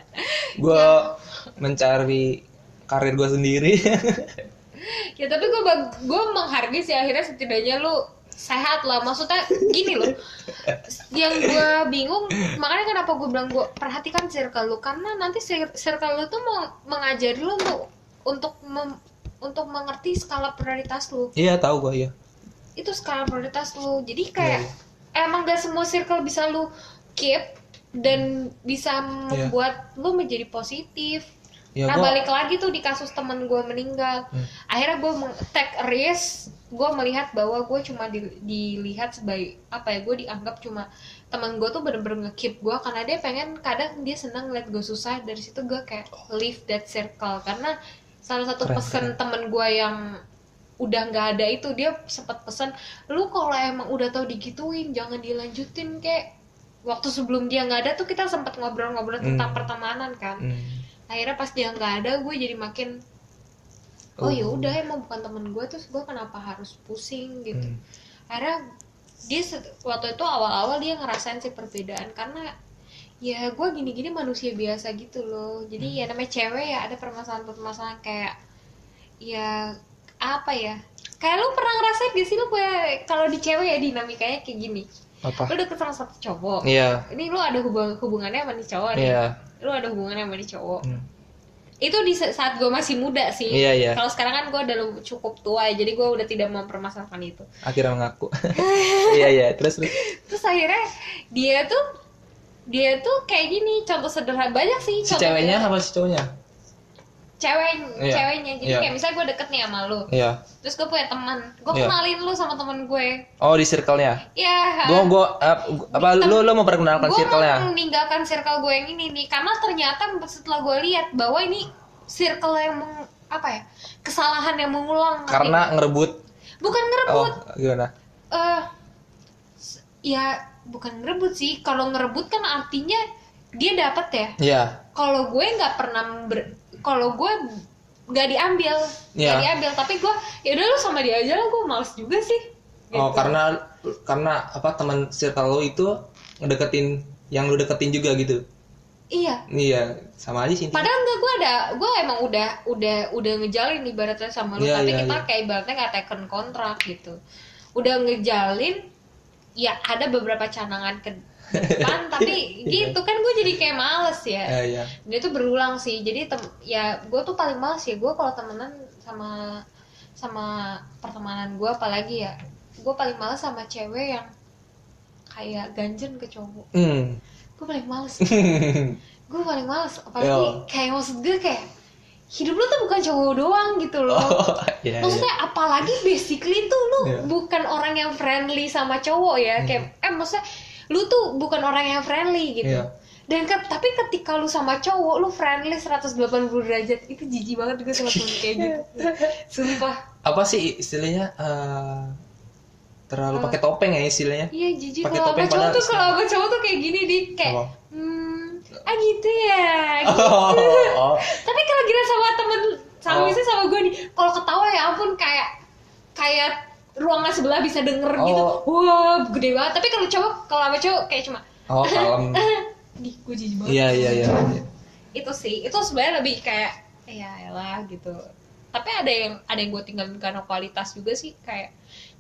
gue
Iya.
mencari karir gue sendiri
ya tapi gue gue menghargai sih akhirnya setidaknya lu sehat lah maksudnya gini loh yang gue bingung makanya kenapa gue bilang gue perhatikan circle lu karena nanti cir- circle lu tuh mau mengajari lu untuk untuk mem- untuk mengerti skala prioritas lu
iya tahu gue iya
itu skala prioritas lu jadi kayak
Iya.
emang gak semua circle bisa lu keep dan
Iya.
bisa membuat lu menjadi positif
ya gue
nah balik lagi tuh di kasus temen gue meninggal
Hmm.
akhirnya gue take a risk gue melihat bahwa gue cuma di- dilihat sebagai apa ya gue dianggap cuma teman gue tuh bener-bener ngekeep gue karena dia pengen kadang dia seneng ngeliat gue susah dari situ gue kayak leave that circle karena salah satu
Keren,
pesan temen gue yang udah nggak ada itu dia sempat pesan lu kalau emang udah tau digituin jangan dilanjutin kayak waktu sebelum dia nggak ada tuh kita sempat ngobrol-ngobrol tentang
Hmm.
pertemanan kan
Hmm.
akhirnya pas dia nggak ada gue jadi makin oh ya udah emang bukan temen gue terus gue kenapa harus pusing gitu
Hmm.
akhirnya dia se- waktu itu awal-awal dia ngerasain sih perbedaan karena ya gue gini-gini manusia biasa gitu loh jadi
Hmm.
ya namanya cewek ya ada permasalahan-permasalahan kayak ya apa ya kayak lu pernah ngerasain gak sih lu kayak kalau di cewek ya dinamikanya kayak gini
apa
lu deket sama satu cowok
iya
ini lu ada hubung- hubungannya sama nih cowok nih
iya
lu ada hubungannya sama nih cowok
Hmm.
itu di sa- saat gue masih muda sih
iya iya
kalau sekarang kan gue udah lu- cukup tua ya, jadi gue udah tidak mempermasalahkan itu
akhirnya mengaku iya iya terus terus
terus akhirnya dia tuh dia tuh kayak gini contoh sederhana banyak sih
si
contoh
ceweknya
sederhana.
apa si cowoknya
cewek
Iya.
ceweknya jadi
Iya.
kayak misalnya gue deket nih sama lu
iya
terus gue punya teman gue
Iya.
kenalin lu sama teman gue
oh di circle-nya
ya
gua gua ap- apa lu lu mau perkenalkan
gue
circle-nya
mau kan meninggalkan circle gue yang ini nih karena ternyata setelah gue lihat bahwa ini circle yang meng- apa ya kesalahan yang mengulang ngerti
karena
nggak?
ngerebut
bukan ngerebut
oh gimana
eh s- ya bukan ngerebut sih kalau ngerebut kan artinya dia dapat ya
iya
kalau gue nggak pernah ber- kalau gue nggak diambil
Iya.
nggak diambil tapi gue ya udah lu sama dia aja lah gue males juga sih
oh
Gitu.
karena karena apa teman circle lu itu ngedeketin yang lu deketin juga gitu
iya
iya sama aja sih intinya.
padahal enggak gue ada gue emang udah udah udah ngejalin ibaratnya sama lu
Iya,
tapi
iya,
kita
iya.
kayak ibaratnya nggak taken kontrak gitu udah ngejalin ya ada beberapa canangan ke depan tapi
Iya.
gitu kan gue jadi kayak males ya
iya iya
dia tuh berulang sih jadi tem- ya gue tuh paling males ya gue kalau temenan sama sama pertemanan gue apalagi ya gue paling males sama cewek yang kayak ganjen ke cowok
Hmm.
gue paling males gue paling males
Yo.
apalagi kayak maksud gue kayak hidup lu tuh bukan cowok doang gitu loh
oh iya iya
maksudnya apalagi basically tuh lu
Iya.
bukan orang yang friendly sama cowok ya kayak eh maksudnya lu tuh bukan orang yang friendly gitu
Iya.
dan ke- tapi ketika lu sama cowok lu friendly 180 derajat itu jijik banget gue sama temen kayak gitu sumpah
apa sih istilahnya eh, terlalu pakai topeng ya istilahnya
iya jijik
Pakai
kalau sama
topeng
cowok
padahal
tuh kalau sama cowok tuh kayak gini di kayak
Apa?
hmm ah gitu ya gitu.
oh, oh, oh.
tapi kalau gila sama temen sama
Oh.
misalnya sama gue nih kalau ketawa ya ampun kayak kayak ruangan sebelah bisa denger gitu
Oh.
wah gede banget tapi kalau cowok kalau sama cowok kayak cuma
Oh, kalem
di gue jijik banget
iya iya iya
itu sih itu sebenarnya lebih kayak ya elah gitu tapi ada yang ada yang gue tinggalin karena kualitas juga sih kayak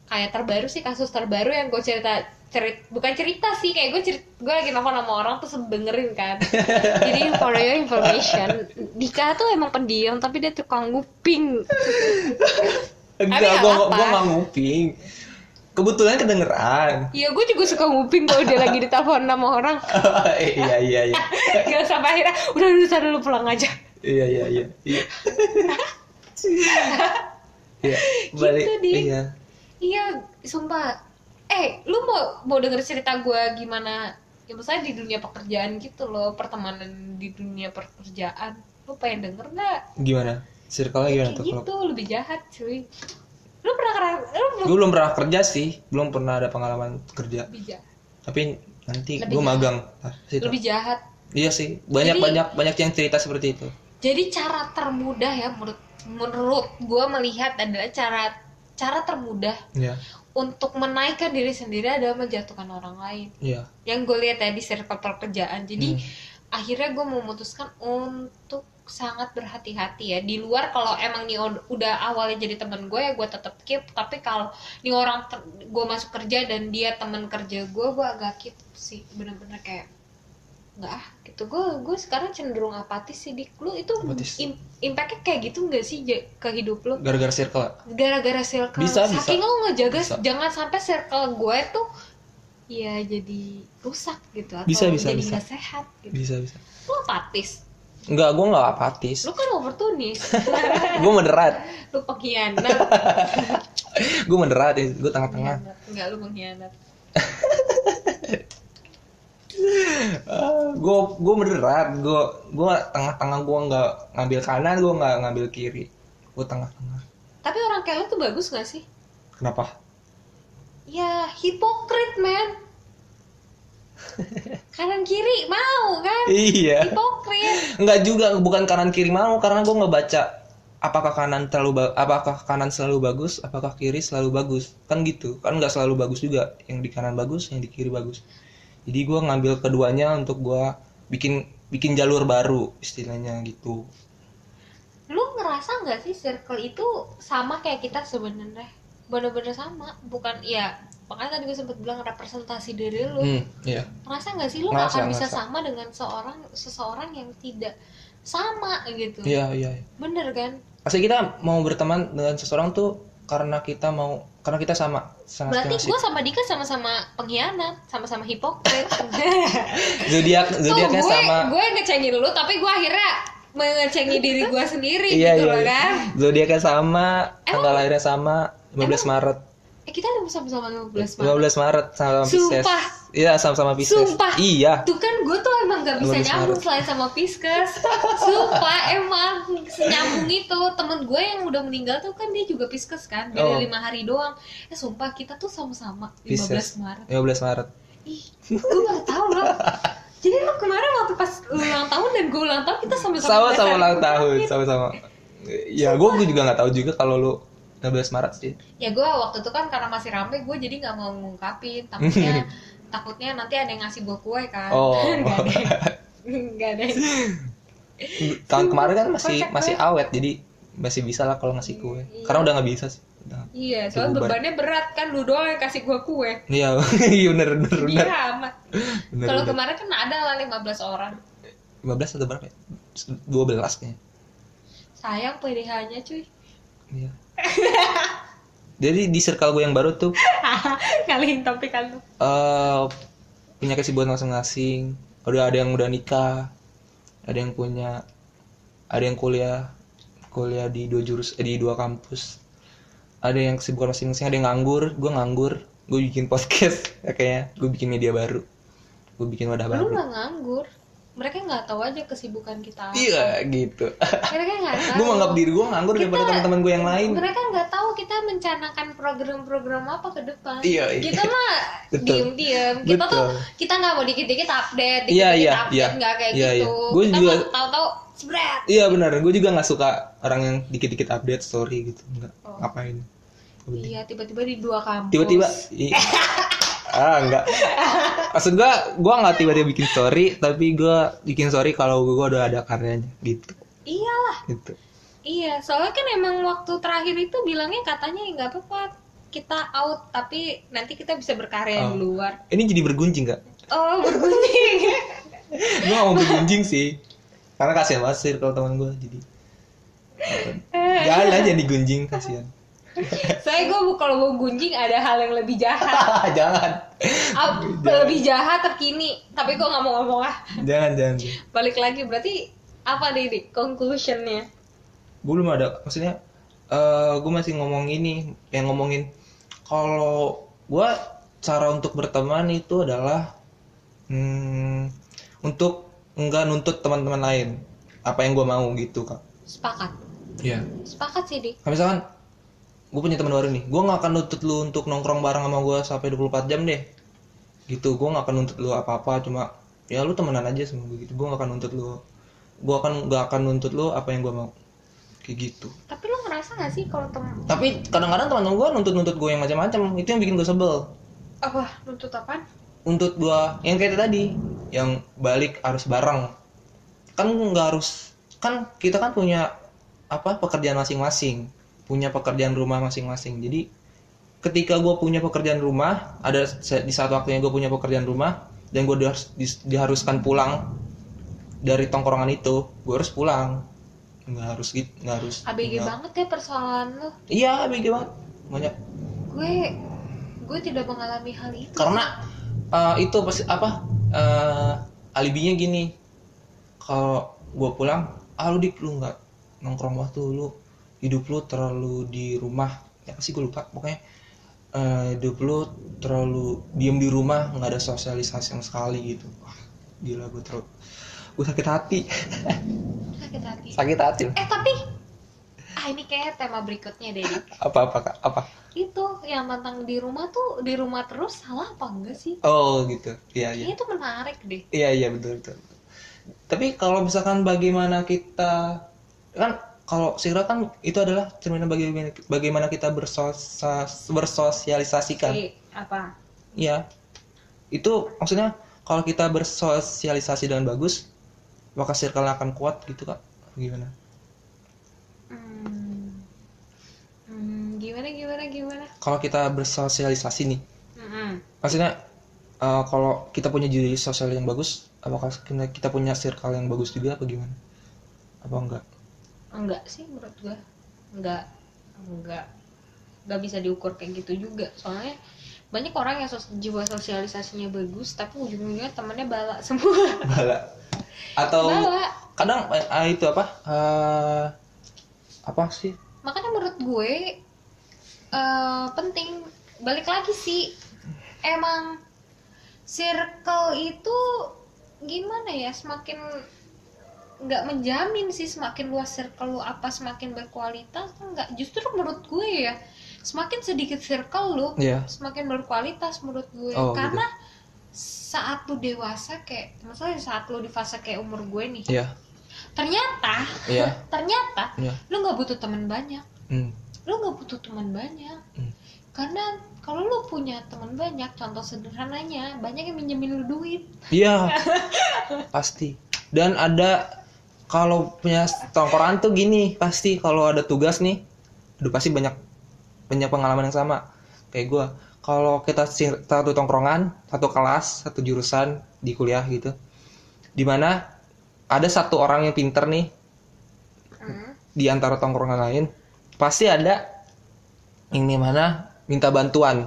kayak terbaru sih kasus terbaru yang gue cerita cerit bukan cerita sih kayak gue cerit gue lagi nelfon sama orang terus dengerin kan jadi for your information Dika tuh emang pendiam tapi dia tukang nguping
enggak
nggak
gua
apa-apa.
gua nggak nguping kebetulan kedengeran
Iya gue juga suka nguping kalau dia lagi ditelepon sama orang
iya iya iya
Gak sampai akhirnya udah udah sana lu pulang aja
iya iya iya iya Iya, balik
Gitu, Dik.
iya
Iya, sumpah. Eh, lu mau mau denger cerita gua gimana? Ya misalnya di dunia pekerjaan gitu loh, pertemanan di dunia pekerjaan. Lu pengen denger nggak?
gimana circle-nya gimana Iya,
Kayak
tuh kalau
gitu lebih jahat, cuy. Lu pernah kera lu
gue belum pernah kerja sih belum pernah ada pengalaman kerja
lebih jahat.
tapi nanti
Lebih
gue
jahat.
magang Ah, situ.
Lebih jahat.
iya sih banyak
Jadi-
banyak banyak yang cerita seperti itu
Jadi cara termudah ya menurut menurut gua melihat adalah cara cara termudah
iya
untuk menaikkan diri sendiri adalah menjatuhkan orang lain.
iya
yang gue lihat ya di circle pekerjaan jadi
Hmm.
akhirnya gue memutuskan untuk sangat berhati-hati ya di luar kalau emang nih od- udah awalnya jadi temen gue ya gue tetap keep tapi kalau nih orang ter- gue masuk kerja dan dia temen kerja gue gue agak keep sih bener-bener kayak nggak ah gitu gue gue sekarang cenderung apatis sih dik lu itu
Apatis.
im- impactnya kayak gitu nggak sih ja- ke hidup lu
gara-gara circle
gara-gara circle
Bisa, bisa.
saking lo ngejaga
Bisa.
jangan sampai circle gue tuh ya jadi rusak gitu atau
Bisa, bisa,
jadi
bisa.
nggak sehat gitu
bisa bisa
lo apatis
enggak gue nggak apatis
lo kan oportunis
gue moderat
lo pengkhianat
gue moderat ya gue tengah-tengah
Pengkhianat. Enggak lu pengkhianat.
gue gue moderat gue gue tengah-tengah gue nggak ngambil kanan gue nggak ngambil kiri gue tengah-tengah
Tapi orang kayak lu tuh bagus gak sih?
kenapa
Ya, hipokrit, men. Kanan kiri mau kan?
iya
Hipokrit.
nggak juga bukan kanan kiri mau karena gue ngebaca apakah kanan terlalu ba- apakah kanan selalu bagus apakah kiri selalu bagus kan gitu kan nggak selalu bagus juga yang di kanan bagus yang di kiri bagus jadi gue ngambil keduanya untuk gue bikin bikin jalur baru istilahnya gitu
Lu ngerasa nggak sih circle itu sama kayak kita sebenarnya? Bener-bener sama, bukan ya makanya tadi gue sempet bilang representasi diri lu.
hmm iya
Ngerasa nggak sih lu nggak
Ngerasa,
akan bisa
ngerasa.
sama dengan seorang seseorang yang tidak sama gitu?
iya iya iya.
Bener kan?
pasti kita mau berteman dengan seseorang tuh karena kita mau karena kita sama sangat
Berarti gue sama Dika sama-sama pengkhianat, sama-sama hipokrit.
zodiak zodiaknya
Tuh, gue,
sama
gue ngecengin lu tapi gue akhirnya mengecengi diri gue sendiri
Iya,
gitu
iya,
loh
iya.
kan
zodiaknya sama tanggal lahirnya sama 15 Maret
eh kita udah sama-sama 15 Maret
15 Maret sama Pisces.
Sumpah.
Iya, sama-sama Pisces.
Sumpah.
Iya.
tuh kan gue tuh emang gak
15
bisa
Maret.
nyambung selain sama Pisces sumpah emang nyambung itu temen gue yang udah meninggal tuh kan dia juga Pisces kan
Oh.
beda lima hari doang eh sumpah kita tuh sama-sama 15
Pisces.
Maret
15 Maret.
ih gue baru tahu loh jadi lu kemarin waktu pas lu ulang tahun dan gue ulang tahun kita sama-sama
Sama-sama
berdasarkan
ulang
bulan
tahun,
lahir.
sama-sama. Ya, gue juga nggak tahu juga kalau lu 15 Maret sih.
ya gue waktu itu kan karena masih rame gue jadi nggak mau ngungkapin takutnya takutnya nanti ada yang ngasih gue kue kan
Oh.
Nggak ada yang- nggak ada yang-
Tahun kemarin kan masih
Kocak
masih awet, jadi masih bisa lah kalau ngasih kue.
Iya.
Karena udah nggak bisa sih. Udah.
iya soalnya
Beban.
bebannya berat kan lu doang yang kasih gue kue
Iya, iya bener bener bener.
iya amat
bener,
kalau
bener.
kemarin kan ada lah 15 orang
15 atau berapa ya? 12 kayaknya.
sayang PDH-nya cuy
Iya. Jadi di circle gue yang baru tuh
ngalihin topik kan lu
eh punya kesibukan masing-masing. Udah ada yang udah nikah, ada yang punya, ada yang kuliah, kuliah di dua jurus, eh, di dua kampus. Ada yang kesibukan masing-masing, ada yang nganggur, gue nganggur, gue bikin podcast, ya kayaknya gue bikin media baru, gue bikin wadah
lu
baru.
nggak nganggur mereka nggak tahu aja kesibukan kita
Iya gitu.
mereka nggak tahu
gue menganggap diri gue nganggur daripada teman-teman gue yang lain.
mereka nggak tahu kita mencanangkan program-program apa ke depan
Iya, iya.
kita mah
Betul.
diem-diem kita tuh
Betul.
kita nggak mau dikit-dikit update dikit-dikit
Iya, iya,
update
iya.
nggak kayak
Iya, iya.
gitu
Gua
kita
juga-
mah tahu-tahu spread
Iya benar, gue juga nggak suka orang yang dikit-dikit update story gitu, nggak
Oh.
ngapain.
iya tiba-tiba di dua kampus
tiba-tiba i- ah enggak maksud gua gua nggak tiba-tiba bikin story tapi gua bikin story kalau gua udah ada karyanya gitu
iyalah
gitu
iya soalnya kan emang waktu terakhir itu bilangnya katanya "Ya, nggak apa-apa kita out tapi nanti kita bisa berkarya di
Oh.
luar
ini jadi bergunjing nggak
oh bergunjing
gua nggak mau bergunjing sih karena kasihan banget sih kalau teman gua jadi jangan lah jangan digunjing kasihan
saya gue kalau mau gunjing ada hal yang lebih jahat
jangan
Ap- lebih jahat terkini tapi gue nggak mau ngomong ah
jangan jangan
balik lagi berarti apa nih dik conclusionnya
gue belum ada maksudnya eh gue masih ngomong ini yang ngomongin kalau gua cara untuk berteman itu adalah hmm, untuk enggak nuntut teman-teman lain apa yang gua mau gitu kak
sepakat
Iya
sepakat sih dik
Nah, misalkan gue punya teman baru nih gue nggak akan nuntut lu untuk nongkrong bareng sama gue sampai 24 jam deh gitu gue nggak akan nuntut lu apa apa cuma ya lu temenan aja sama gue gitu gue nggak akan nuntut lu gue akan nggak akan nuntut lu apa yang gue mau kayak gitu
tapi lo ngerasa gak sih kalau temen
tapi kadang-kadang teman gue nuntut-nuntut gue yang macam-macam itu yang bikin gue sebel
apa nuntut apaan
nuntut gue yang kayak tadi yang balik harus bareng kan nggak harus kan kita kan punya apa pekerjaan masing-masing punya pekerjaan rumah masing-masing jadi ketika gue punya pekerjaan rumah ada se- di saat waktunya gue punya pekerjaan rumah dan gue diharuskan pulang dari tongkrongan itu gue harus pulang nggak harus gitu nggak harus
ABG
nggak-
banget ya persoalan lo
iya abg banget banyak
gue gue tidak mengalami hal itu
karena eh, itu pasti apa eh, alibinya gini kalau gue pulang ah lu dik lu nggak nongkrong waktu lu hidup lu terlalu di rumah ya pasti gue lupa pokoknya eh, hidup lu terlalu diem di rumah nggak ada sosialisasi sama sekali gitu Wah, gila gue terlalu gue sakit hati
sakit hati
sakit hati
eh tapi ah ini kayak tema berikutnya deh
apa apa Kak? apa
itu yang tentang di rumah tuh di rumah terus salah apa enggak sih
oh gitu iya iya
Kayaknya itu menarik deh
Iya iya betul betul. Tapi kalau misalkan bagaimana kita kan kalau segera kan itu adalah cerminan bagaimana bagaimana kita bersosas, bersosialisasikan.
Jadi, apa
Iya. Itu maksudnya kalau kita bersosialisasi dengan bagus maka circle akan kuat gitu kak gimana
hmm, hmm, gimana gimana gimana Hmm,
kalau kita bersosialisasi nih
Mm-mm.
maksudnya eh, kalau kita punya diri sosial yang bagus apakah kita kita punya circle yang bagus juga apa gimana apa enggak
enggak sih menurut gua enggak enggak enggak bisa diukur kayak gitu juga soalnya banyak orang yang sos- jiwa sosialisasinya bagus tapi ujung-ujungnya temennya balak semua
bala atau
balak
kadang eh, eh, itu apa eh apa sih
makanya menurut gue eh, penting balik lagi sih emang circle itu gimana ya semakin nggak menjamin sih semakin luas circle lu apa semakin berkualitas nggak justru menurut gue ya semakin sedikit circle lu
ya
semakin berkualitas menurut gue
Oh, gitu.
karena saat lu dewasa kayak maksudnya saat lu di fase kayak umur gue nih
ya
ternyata
ya
ternyata
ya
lu nggak butuh teman banyak
hmm,
lu nggak butuh teman banyak
Hmm.
karena kalau lu punya teman banyak contoh sederhananya banyak yang minjemin lu duit
iya pasti dan ada kalau punya tongkoran tuh gini pasti kalau ada tugas nih aduh pasti banyak banyak pengalaman yang sama kayak gua kalau kita sing- satu tongkrongan satu kelas satu jurusan di kuliah gitu dimana ada satu orang yang pinter nih di antara tongkrongan lain pasti ada yang dimana minta bantuan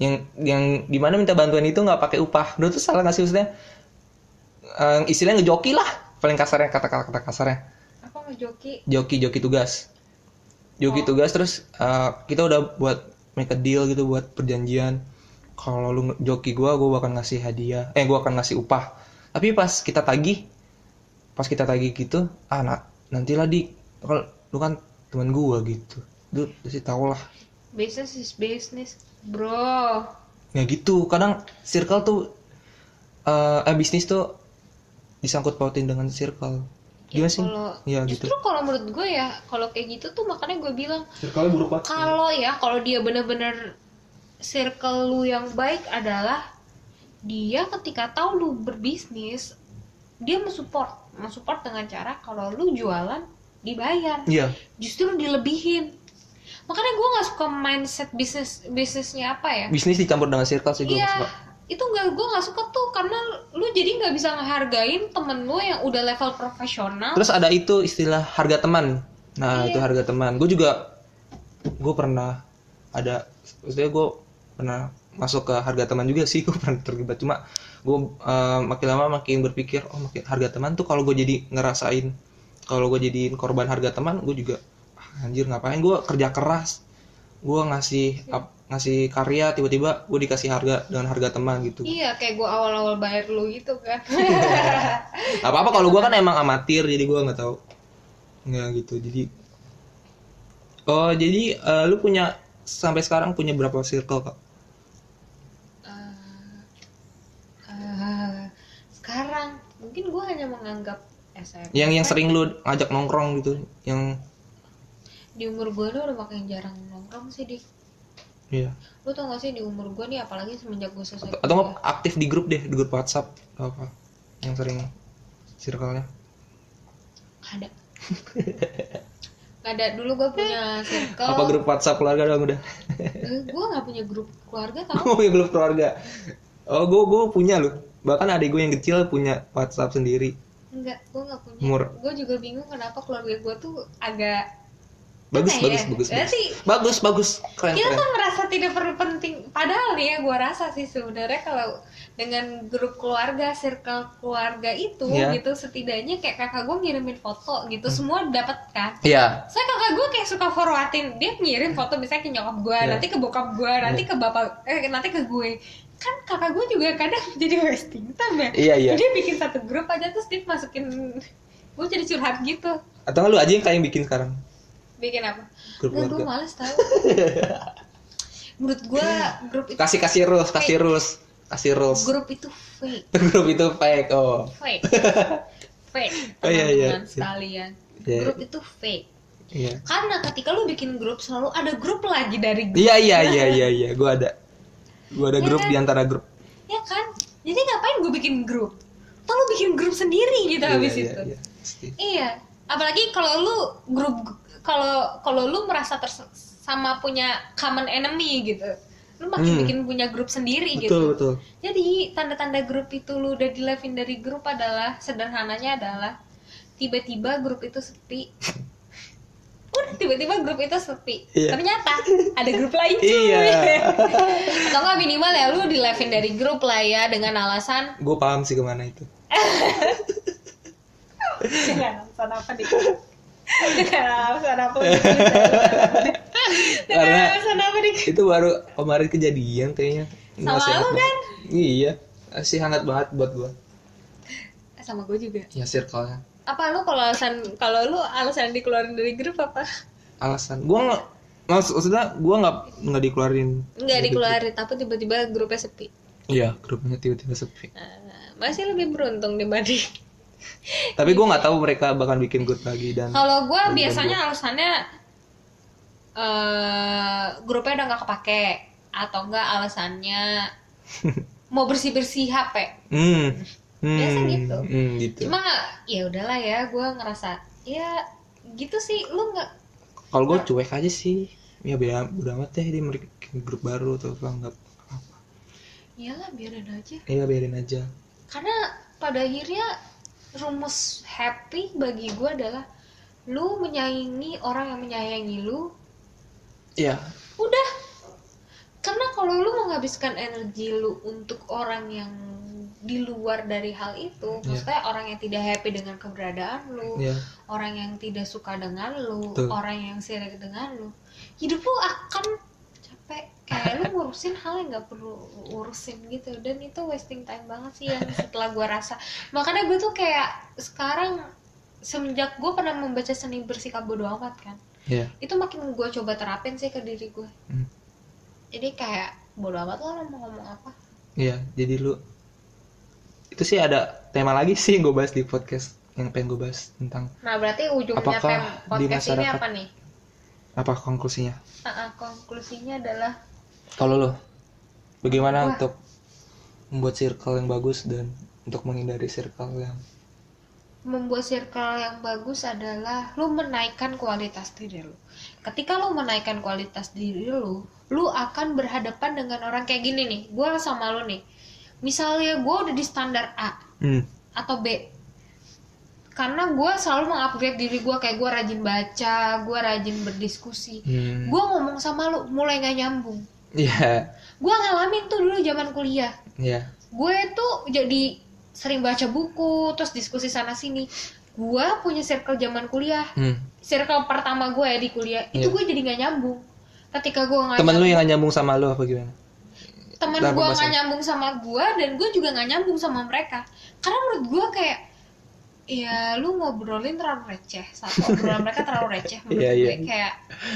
yang yang dimana minta bantuan itu nggak pakai upah lu tuh salah nggak sih maksudnya Eh, istilahnya ngejoki lah paling kasarnya kata-kata kata kasarnya
apa ngejoki
joki joki tugas joki
Oh.
tugas terus eh, kita udah buat make a deal gitu buat perjanjian kalau lu nge- joki gua gua bakal ngasih hadiah eh gua akan ngasih upah tapi pas kita tagih pas kita tagih gitu ah nah, nantilah di kalau lu kan teman gua gitu lu pasti tau lah
business is business bro
ya gitu kadang circle tuh eh eh, bisnis tuh disangkut pautin dengan circle
Ya,
gimana sih
kalau
ya gitu
justru kalau menurut gue ya kalau kayak gitu tuh makanya gue bilang
circle buruk
kalau ya kalau dia bener-bener circle lu yang baik adalah dia ketika tahu lu berbisnis dia mensupport mensupport dengan cara kalau lu jualan dibayar
iya
justru dilebihin makanya gue nggak suka mindset bisnis bisnisnya apa ya
bisnis dicampur dengan circle sih gue
iya itu nggak gue nggak suka tuh karena lu jadi nggak bisa ngehargain temen lu yang udah level profesional
Terus ada itu istilah harga teman. Nah,
Iya.
itu harga teman. Gue juga gue pernah ada maksudnya gue pernah masuk ke harga teman juga sih gue pernah terlibat cuma gue eh, makin lama makin berpikir oh makin harga teman tuh kalau gue jadi ngerasain kalau gue jadiin korban harga teman gue juga "Ah, anjir ngapain gue kerja keras gue ngasih ap- ngasih karya tiba-tiba gue dikasih harga dengan harga teman gitu
iya kayak gue awal-awal bayar lu gitu kan
apa apa kalau gue kan emang amatir jadi gue nggak tahu nggak gitu jadi oh jadi eh, lu punya sampai sekarang punya berapa circle kak
Eh, eh, sekarang mungkin gue hanya menganggap SMP
yang yang sering lu ngajak nongkrong gitu yang
di umur gue lu udah makin jarang nongkrong sih di
ya
lu tau gak sih di umur gue nih apalagi semenjak gue selesai
atau nggak
kuliah.
aktif di grup deh di grup WhatsApp atau apa yang sering circle-nya
Nggak ada Nggak ada dulu gue punya circle
apa grup WhatsApp keluarga dong udah
gue gak punya grup keluarga tau
gue punya grup keluarga oh gue gue punya loh bahkan adik gue yang kecil punya WhatsApp sendiri
Enggak, gue gak punya
Mur-
gue juga bingung kenapa keluarga gue tuh agak
bagus bagus
Apa ya?
bagus bagus
Berarti-
bagus bagus keren
kita
keren
tuh merasa tidak perlu penting Padahal nih ya gue rasa sih sebenarnya kalau dengan grup keluarga, circle keluarga itu
Iya. Hmm.
gitu setidaknya kayak kakak gue ngirimin foto gitu semua dapat kan.
Iya,
Saya kakak gue kayak suka forwardin dia ngirim foto misalnya ke nyokap gue,
Iya.
nanti ke bokap gue, nanti ke bapak, eh nanti ke gue. Kan kakak gue juga kadang jadi wasting time ya.
iya, iya.
Dia bikin satu grup aja terus dia masukin gue jadi curhat gitu.
Atau nggak lu aja yang kayak yang bikin sekarang
Bikin apa?
grup
Gue gue
keluarga?
males tau. Menurut gue grup itu
Kasih kasih rules, kasih rules, kasih rules.
grup itu fake,
grup itu fake. Oh,
fake, fake.
Oh, iya, iya.
teman-teman sekalian.
Iya.
Grup itu fake.
iya.
Karena ketika lu bikin grup selalu ada grup lagi dari grup,
Iya, iya, iya, iya, iya. Gua ada. Gua ada
Iya
grup
kan?
di antara grup.
ya kan? Jadi ngapain gue bikin grup? Atau lu bikin grup sendiri gitu
Iya,
habis
iya,
itu.
iya. Pasti.
Iya. Apalagi kalau lu grup kalau kalau lu merasa terse- sama punya common enemy gitu. Lu makin
Hmm.
bikin punya grup sendiri gitu.
Betul, betul.
Jadi tanda-tanda grup itu lu udah di levelin dari grup adalah sederhananya adalah tiba-tiba grup itu sepi. Udah tiba-tiba grup itu sepi.
Iya.
Ternyata ada grup lain cuy.
Iya.
Atau nggak minimal ya lu di levelin dari grup lah ya dengan alasan
Gua paham sih kemana itu.
dengan alasan apa nih? dengan alasan apa? dengan
Karena-
alasan apa nih?
itu baru kemarin kejadian kayaknya.
Sama
Masih
lu
hangat
kan?
banget. Iya, masih hangat banget buat gua.
Eh, Sama gue juga.
Ya circle-nya.
Apa lu kalau alasan kalau lu alasan dikeluarin dari grup apa?
Alasan gua nggak maksud maksudnya gua nggak nggak dikeluarin.
Nggak dikeluarin, tapi tiba-tiba grupnya sepi.
Iya, grupnya tiba-tiba sepi.
Eh, masih lebih beruntung dibanding
Tapi gua nggak tahu mereka bakal bikin grup lagi dan
kalau gue biasanya alasannya eh grupnya udah nggak kepake atau enggak alasannya mau bersih bersih HP
hmm. Hmm,
Biasa gitu.
hmm, gitu.
cuma ya udahlah ya gue ngerasa ya gitu sih lu nggak
Kalau gua cuek aja sih. Ya beda udah amat deh dia mereka bikin grup baru atau apa nggak
iyalah ya biarin aja
Iya biarin aja.
karena pada akhirnya rumus happy bagi gue adalah lu menyayangi orang yang menyayangi lu
Iya,
udah karena kalau lu menghabiskan energi lu untuk orang yang di luar dari hal
Iya.
itu maksudnya orang yang tidak happy dengan keberadaan lu
iya.
orang yang tidak suka dengan lu
Betul.
orang yang sirik dengan lu hidup lu akan capek kayak lu ngurusin hal yang nggak perlu urusin gitu dan itu wasting time banget sih yang setelah gua rasa makanya gue tuh kayak sekarang semenjak gue pernah membaca seni bersikap bodoh amat kan
Iya.
itu makin gue coba terapin sih ke diri gue
Hmm.
jadi kayak bodo amat lah lo mau ngomong apa
Iya, jadi lu itu sih ada tema lagi sih yang gue bahas di podcast yang pengen gue bahas tentang
nah berarti ujungnya
Apakah di
pem podcast ini
masyarakat-
apa nih
apa konklusinya.
Ah, ah, konklusinya adalah
Kalau lu bagaimana
Wah.
untuk membuat circle yang bagus dan untuk menghindari circle yang
membuat circle yang bagus adalah lu menaikkan kualitas diri lu. Ketika lu menaikkan kualitas diri lu, lu akan berhadapan dengan orang kayak gini nih. Gue sama lu nih. Misalnya gue udah di standar A
hmm.
atau B. Karena gue selalu mengupgrade diri gue kayak gue rajin baca, gue rajin berdiskusi.
Hmm.
Gue ngomong sama lu mulai gak nyambung.
Iya,
Gue ngalamin tuh dulu zaman kuliah
iya.
gue tuh jadi sering baca buku terus diskusi sana sini gue punya circle zaman kuliah
Hmm.
circle pertama gue ya di kuliah itu
Iya.
gue jadi nggak nyambung ketika gue nggak
Temen lu yang gak nyambung sama lu apa gimana?
nyambung- temen
Nah,
gue nggak
pembahasan.
nyambung sama gue dan gue juga nggak nyambung sama mereka karena menurut gue kayak ya lu ngobrolin terlalu receh satu obrolan mereka terlalu receh menurut
Iya,
gue
iya.
kayak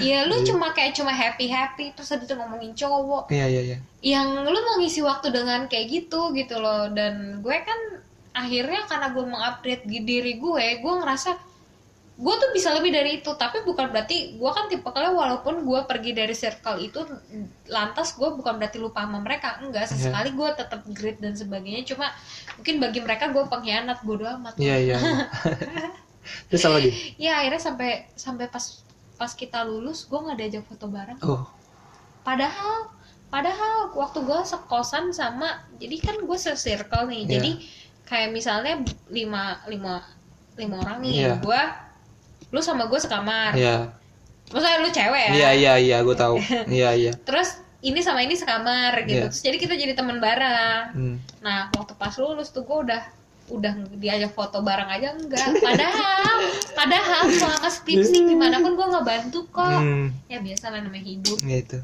ya lu cuma kayak cuma happy happy terus habis itu ngomongin cowok
Iya, iya, iya.
yang lu mau ngisi waktu dengan kayak gitu gitu loh dan gue kan akhirnya karena gue mengupdate di diri gue gue ngerasa gue tuh bisa lebih dari itu tapi bukan berarti gue kan tipe kalian walaupun gue pergi dari circle itu lantas gue bukan berarti lupa sama mereka enggak sesekali gue tetap great dan sebagainya cuma mungkin bagi mereka gue pengkhianat bodo amat
Iya, iya. Terus apa lagi?
ya akhirnya sampai sampai pas pas kita lulus gue nggak diajak foto bareng
Oh,
padahal padahal waktu gue sekosan sama jadi kan gue se-circle nih
Iya.
jadi kayak misalnya lima lima lima orang nih
Iya.
gue lu sama gue sekamar
iya.
maksudnya lu cewek Ah, ya
Iya, iya, iya, gue tahu. Iya, iya.
terus ini sama ini sekamar gitu
Iya.
terus jadi kita jadi teman bareng
Hmm.
nah waktu pas lulus tuh gue udah udah diajak foto bareng aja enggak padahal padahal selama skripsi gimana pun gue nggak bantu kok
Iya. Hmm,
ya biasa lah namanya hidup
ya itu.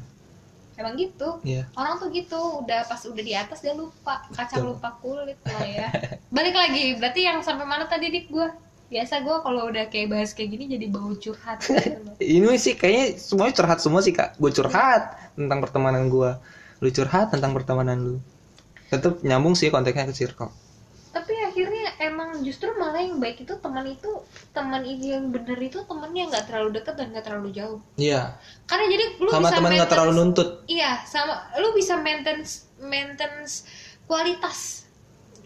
emang gitu
Ya.
orang tuh gitu udah pas udah di atas dia lupa kacang
Betul.
lupa kulit lah ya balik lagi berarti yang sampai mana tadi dik gue biasa gue kalau udah kayak bahas kayak gini jadi bau curhat gitu loh.
Ini sih kayaknya semuanya curhat semua sih kak. Gue curhat tentang pertemanan gua Lu curhat tentang pertemanan lu. Tetap nyambung sih konteksnya ke circle.
tapi akhirnya emang justru malah yang baik itu teman itu teman ini yang bener itu temennya nggak terlalu dekat dan nggak terlalu jauh
Iya.
karena jadi lu
Sama
bisa
teman nggak
maintenance-
terlalu nuntut.
iya sama lu bisa maintenance maintenance kualitas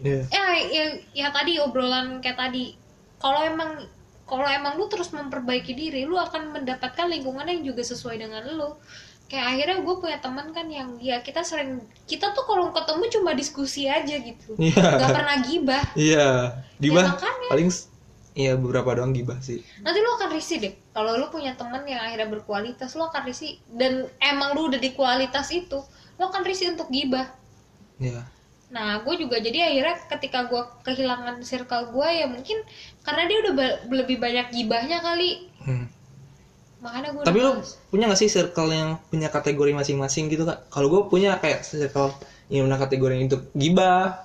Iya.
ya, ya, ya tadi obrolan kayak tadi kalau emang kalau emang lu terus memperbaiki diri lu akan mendapatkan lingkungan yang juga sesuai dengan lu kayak akhirnya gue punya teman kan yang ya kita sering kita tuh kalau ketemu cuma diskusi aja gitu
Iya.
nggak pernah gibah
Iya.
Ya,
Gibah
makanya
paling s- iya beberapa doang gibah sih.
nanti lu akan risih deh kalau lu punya teman yang akhirnya berkualitas lu akan risih dan emang lu udah di kualitas itu lu akan risih untuk gibah
Iya.
Nah, gue juga jadi akhirnya ketika gue kehilangan circle gue ya mungkin karena dia udah ba- lebih banyak gibahnya kali.
Hmm.
Makanya gue
Tapi lu punya gak sih circle yang punya kategori masing-masing gitu kak? Kalau gue punya kayak circle yang punya kategori untuk gibah,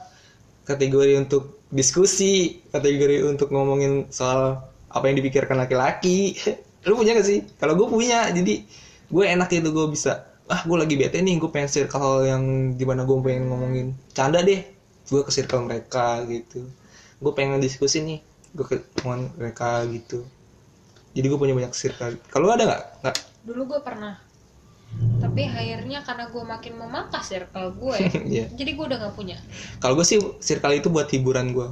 kategori untuk diskusi, kategori untuk ngomongin soal apa yang dipikirkan laki-laki. lu punya gak sih? Kalau gue punya, jadi gue enak gitu gue bisa. Ah gue lagi bete nih, gue pengen circle yang dimana gue pengen ngomongin canda deh. Gue ke circle mereka gitu. Gue pengen diskusi nih, gue ke teman mereka gitu. Jadi gue punya banyak circle. Kalau lu ada nggak? Nggak.
dulu gue pernah. Tapi akhirnya karena gue makin memangkas circle gue,
Iya.
jadi gue udah gak punya.
Kalau gue sih circle itu buat hiburan gue.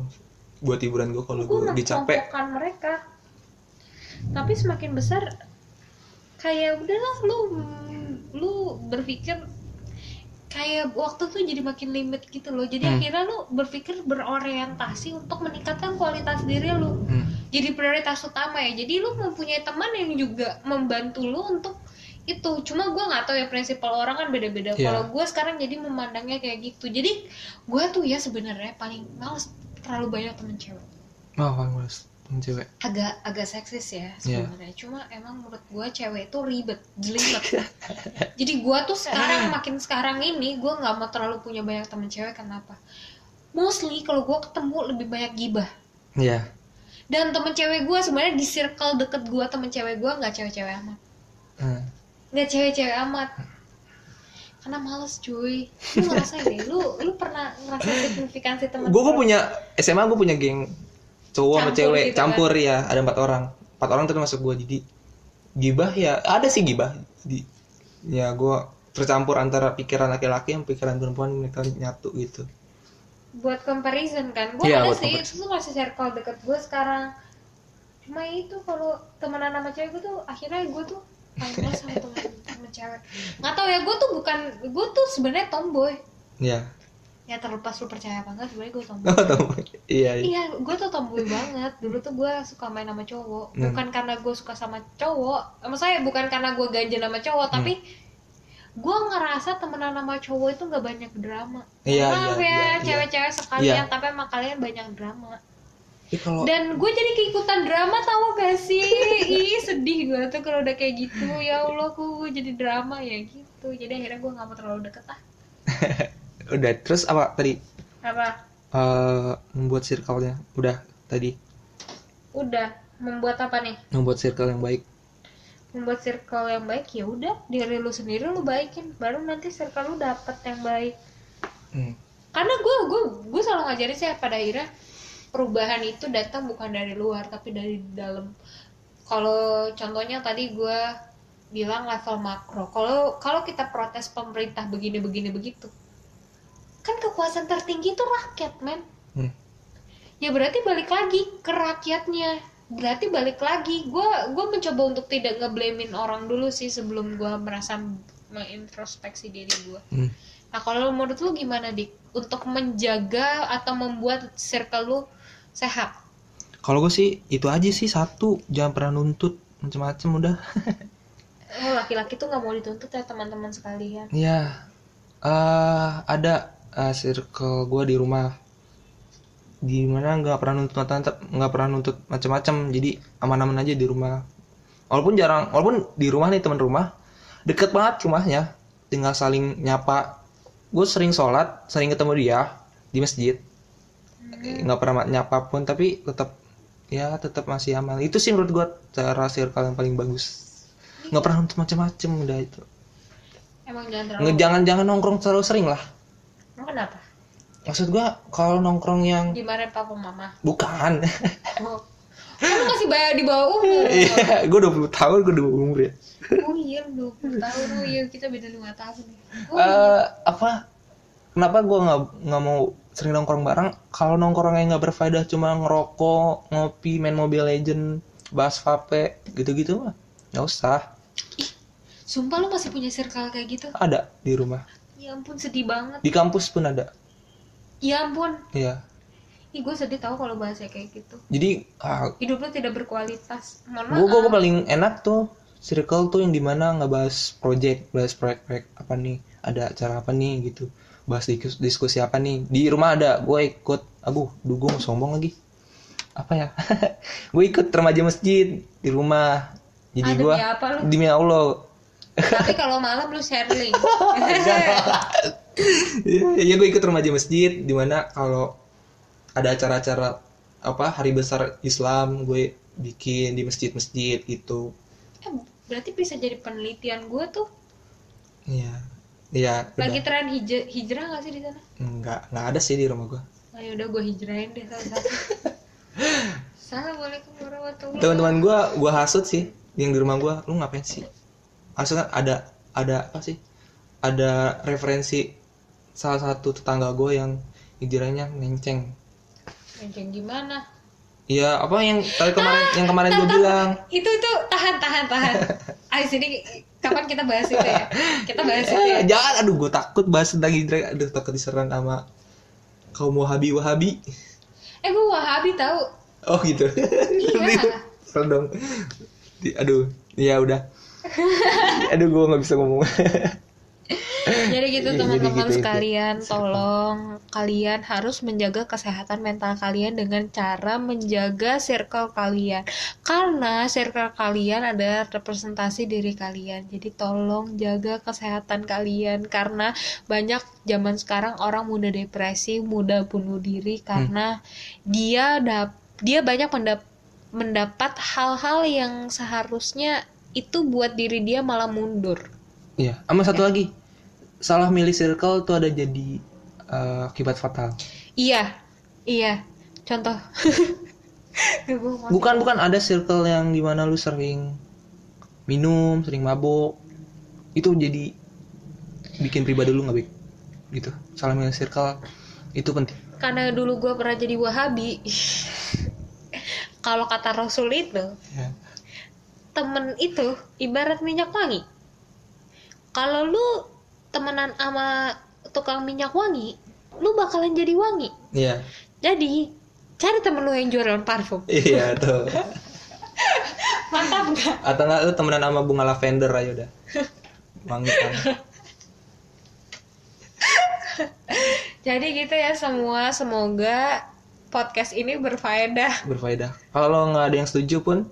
Buat hiburan gue kalau
Gue
gue lagi capek.
mengelompokkan mereka. Tapi semakin besar kayak udahlah lu lu berpikir kayak waktu tuh jadi makin limit gitu loh. Jadi
Hmm.
akhirnya lu berpikir berorientasi untuk meningkatkan kualitas diri lu.
Hmm.
jadi prioritas utama ya jadi lu mempunyai teman yang juga membantu lu untuk itu cuma gue nggak tahu ya prinsipal orang kan beda-beda
Iya.
kalau gue sekarang jadi memandangnya kayak gitu jadi gue tuh ya sebenarnya paling males terlalu banyak temen cewek
Mau kan males temen cewek.
agak agak seksis ya sebenarnya cuma emang menurut gue cewek itu ribet jelimet jadi gue tuh sekarang makin sekarang ini gue nggak mau terlalu punya banyak temen cewek kenapa mostly kalau gue ketemu lebih banyak gibah
Iya.
dan temen cewek gue sebenarnya di circle deket gue temen cewek gue nggak cewek-cewek amat
Hmm.
nggak cewek-cewek amat karena males cuy lu ngerasain deh lu lu pernah ngerasain signifikansi temen
Gue gue punya SMA gue punya geng cowok sama
Campur
cewek
gitu kan?
campur ya ada empat orang empat orang termasuk gue jadi gibah ya ada sih gibah di ya gue tercampur antara pikiran laki-laki sama pikiran perempuan mereka nyatu gitu
buat comparison kan gue
Iya,
ada
buat
sih itu
comparison.
tuh masih circle deket gue sekarang cuma itu kalau temenan sama cewek gue tuh akhirnya gue tuh paling males sama temen, temen cewek nggak tau ya gue tuh bukan gue tuh sebenarnya tomboy
ya
ya terlepas lu percaya apa enggak sebenarnya gue tomboy
oh, tau. iya iya
Iya, gue tuh tomboy banget. Dulu tuh gue suka main sama cowok.
Hmm.
Bukan karena gue suka sama cowok. Eh, Maksudnya bukan karena gue ganjel sama cowok,
Hmm.
tapi gue ngerasa temenan sama cowok itu nggak banyak drama.
Iya, iya,
Maaf
iya,
ya, cewek-cewek sekalian,
Iya. Oh.
tapi emang kalian banyak drama.
Tapi kalau
Dan gue jadi keikutan drama tau gak sih? Ih, sedih gue tuh kalau udah kayak gitu. Ya Allah, gue jadi drama ya gitu. Jadi akhirnya gue nggak mau terlalu deket ah.
udah terus apa tadi
Apa?
eh membuat circle-nya udah tadi
Udah membuat apa nih?
membuat circle yang baik
membuat circle yang baik ya udah diri lu sendiri lu baikin baru nanti circle lu dapet yang baik
Hmm.
karena gue gue gue selalu ngajarin sih pada akhirnya perubahan itu datang bukan dari luar tapi dari dalam kalau contohnya tadi gue bilang level makro kalau kalau kita protes pemerintah begini begini begitu kan kekuasaan tertinggi itu rakyat men
Hmm.
ya berarti balik lagi ke rakyatnya berarti balik lagi gue gue mencoba untuk tidak ngeblamin orang dulu sih sebelum gue merasa mengintrospeksi diri gue
Hmm.
Nah, kalau menurut lu gimana, Dik? Untuk menjaga atau membuat circle lu sehat?
Kalau gue sih itu aja sih satu, jangan pernah nuntut macam-macam udah.
oh laki-laki tuh nggak mau dituntut ya teman-teman sekalian
Iya. eh ada eh, circle gua di rumah di mana nggak pernah nuntut mata- nggak pernah nuntut macam-macam jadi aman-aman aja di rumah walaupun jarang walaupun di rumah nih teman rumah deket banget rumahnya tinggal saling nyapa gue sering sholat sering ketemu dia di masjid Eh, nggak pernah ma- nyapa pun tapi tetap ya tetap masih aman itu sih menurut gue cara circle yang paling bagus nggak pernah nuntut macam-macam udah itu
emang jangan terlalu
Nge- jangan-jangan nongkrong terlalu sering lah.
emang kenapa
Maksud gua kalau nongkrong yang
dimarahin papa mama
bukan.
oh. kamu masih bayar di bawah umur
Iya, gua 20 tahun, gua 20 umur ya.
oh iya 20 tahun oh iya kita beda 5 tahun nih oh,
Eh, apa kenapa gua nggak nggak mau sering nongkrong bareng kalau nongkrong yang nggak berfaedah cuma ngerokok, ngopi, main Mobile Legend, bahas vape, gitu-gitu mah. Nggak usah.
sumpah lu masih punya circle kayak gitu
Ada di rumah.
ya ampun sedih banget
Di kampus pun ada.
ya ampun
Iya.
ih gue sedih tahu kalau bahasa kayak gitu
Jadi ah,
hidup lu tidak berkualitas mohon maaf
gue gue paling enak tuh circle tuh yang dimana nggak bahas project bahas proyek-proyek apa nih ada acara apa nih gitu bahas dikus- diskusi apa nih di rumah ada gue ikut aduh duh gue mau sombong lagi apa ya gue ikut remaja masjid di rumah jadi
Ada
gue
demi apa lu?
demi allah
tapi kalau malam lu share link
ya gue ikut remaja masjid dimana kalau ada acara-acara apa hari besar Islam gue bikin di masjid-masjid gitu
Eh, berarti bisa jadi penelitian gue tuh
Iya. Iya,
lagi
udah.
tren hijrah, hijrah gak sih di sana?
Enggak, enggak ada sih di rumah gua.
Ayo udah gue hijrahin deh satu-satu. Assalamualaikum warahmatullahi
Teman-teman gua gua hasut sih yang di rumah gua. Lu ngapain sih? Maksudnya ada ada apa sih? Ada referensi salah satu tetangga gua yang hijrahnya menceng.
Yang gimana?
Iya, apa yang tadi kemarin yang kemarin
Ah,
gua bilang?
Itu itu tahan tahan tahan. Ayo sini kapan kita bahas itu ya? Kita bahas itu ya.
Eh, jangan, aduh gua takut bahas tentang hijrah. Aduh, takut diserang sama kaum Wahabi-Wahabi.
Eh gue Wahabi tahu.
Oh gitu.
Iya.
Serem dong. Di- Aduh, ya udah. Aduh, gua nggak bisa ngomong.
Jadi gitu
Iya, jadi
teman-teman
gitu, itu.
sekalian, tolong kalian harus menjaga kesehatan mental kalian dengan cara menjaga circle kalian. Karena circle kalian ada representasi diri kalian. Jadi tolong jaga kesehatan kalian karena banyak zaman sekarang orang muda depresi, muda bunuh diri
Hmm.
karena dia dap dia banyak mendap- mendapat hal-hal yang seharusnya itu buat diri dia malah mundur.
Iya, sama satu lagi. Salah milih circle tuh ada jadi eh, akibat fatal.
Iya, iya. Contoh. Gue mau-
Bukan bukan ada circle yang dimana lu sering minum, sering mabok. Itu jadi bikin pribadi lu nggak baik. Gitu. Salah milih circle itu penting.
Karena dulu gue pernah jadi Wahabi. Kalau kata Rasul itu,
Ya.
temen itu ibarat minyak wangi. Kalau lu temenan sama tukang minyak wangi, lu bakalan jadi wangi.
Iya.
Jadi, cari temen lu yang jualan parfum.
Iya tuh.
Mantap nggak?
Atau enggak lu temenan sama bunga lavender ayo udah. Wangi kan.
Jadi gitu ya semua, semoga podcast ini berfaedah.
berfaedah. Kalau nggak ada yang setuju pun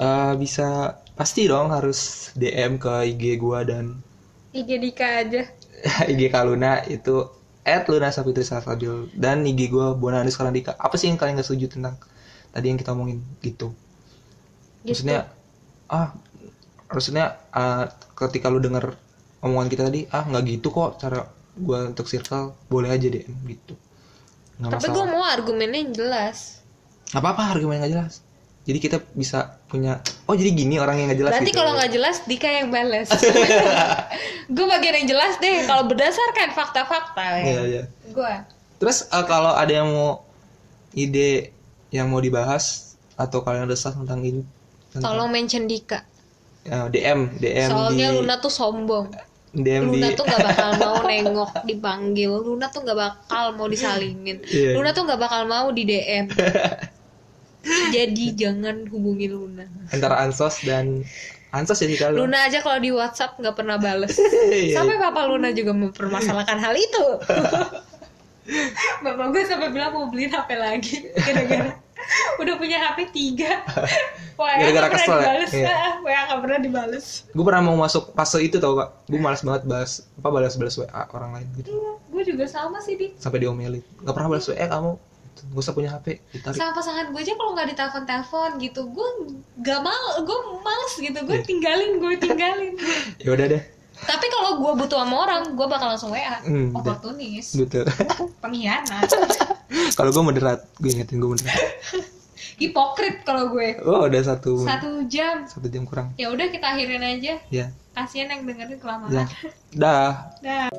eh, bisa pasti dong harus DM ke IG gua dan
IG Dika aja.
IG Kaluna itu at Luna Sapitri Sarsabil dan IG gua Bona Anies Kalandika. Apa sih yang kalian nggak setuju tentang tadi yang kita omongin gitu?
Gitu.
Maksudnya ah maksudnya ah, ketika lu denger omongan kita tadi ah nggak gitu kok cara gua untuk circle boleh aja DM gitu. Nggak
Tapi gue
masalah.
mau argumennya yang jelas.
Nggak apa-apa argumen nggak jelas. Jadi kita bisa punya oh jadi gini orang yang nggak jelas
Berarti
gitu.
kalau nggak jelas Dika yang bales. gue bagian yang jelas deh. Kalau berdasarkan fakta-fakta ya.
Iya, iya.
Gue.
Terus eh, kalau ada yang mau ide yang mau dibahas atau kalian resah tentang ini tentang
Tolong mention Dika.
eh, DM DM
Soalnya
di
Luna tuh sombong.
DM di
Luna tuh nggak bakal mau nengok dipanggil. Luna tuh nggak bakal mau disalingin.
Iya.
Luna tuh nggak bakal mau di DM. Jadi jangan hubungi Luna.
Iya. antara ansos dan Ansos jadi kalau
Luna aja kalau di WhatsApp nggak pernah bales.
Iya,
sampai papa Luna juga mempermasalahkan hal itu. Bapak gue sampai bilang mau beliin HP lagi gara-gara udah punya HP tiga. Wah,
Gara-gara
nggak
kesel
pernah
ya?
dibales.
Iya.
Ah, WA nggak pernah dibales.
gue pernah mau masuk fase itu tau kak gue malas banget balas apa balas balas wa orang lain gitu
Iya, gue juga sama sih di.
sampai diomelin nggak pernah balas wa kamu Gitu. gak usah punya hp ditarik
Sama pasangan gue aja kalau nggak ditelepon-telepon gitu, gue nggak mau, gue males gitu, gue
Iya.
tinggalin, gue tinggalin.
ya udah deh
Tapi kalau gue butuh sama orang, gue bakal langsung WA.
Hmm, udah.
Oportunis,
betul
pengkhianat,
kalau gue moderat gue ingetin gue moderat
hipokrit kalau gue.
oh udah satu menit.
Satu jam.
satu jam kurang
Ya udah kita akhirin aja.
ya
Oh. Kasihan yang dengerin kelamaan.
ya dah
Dah.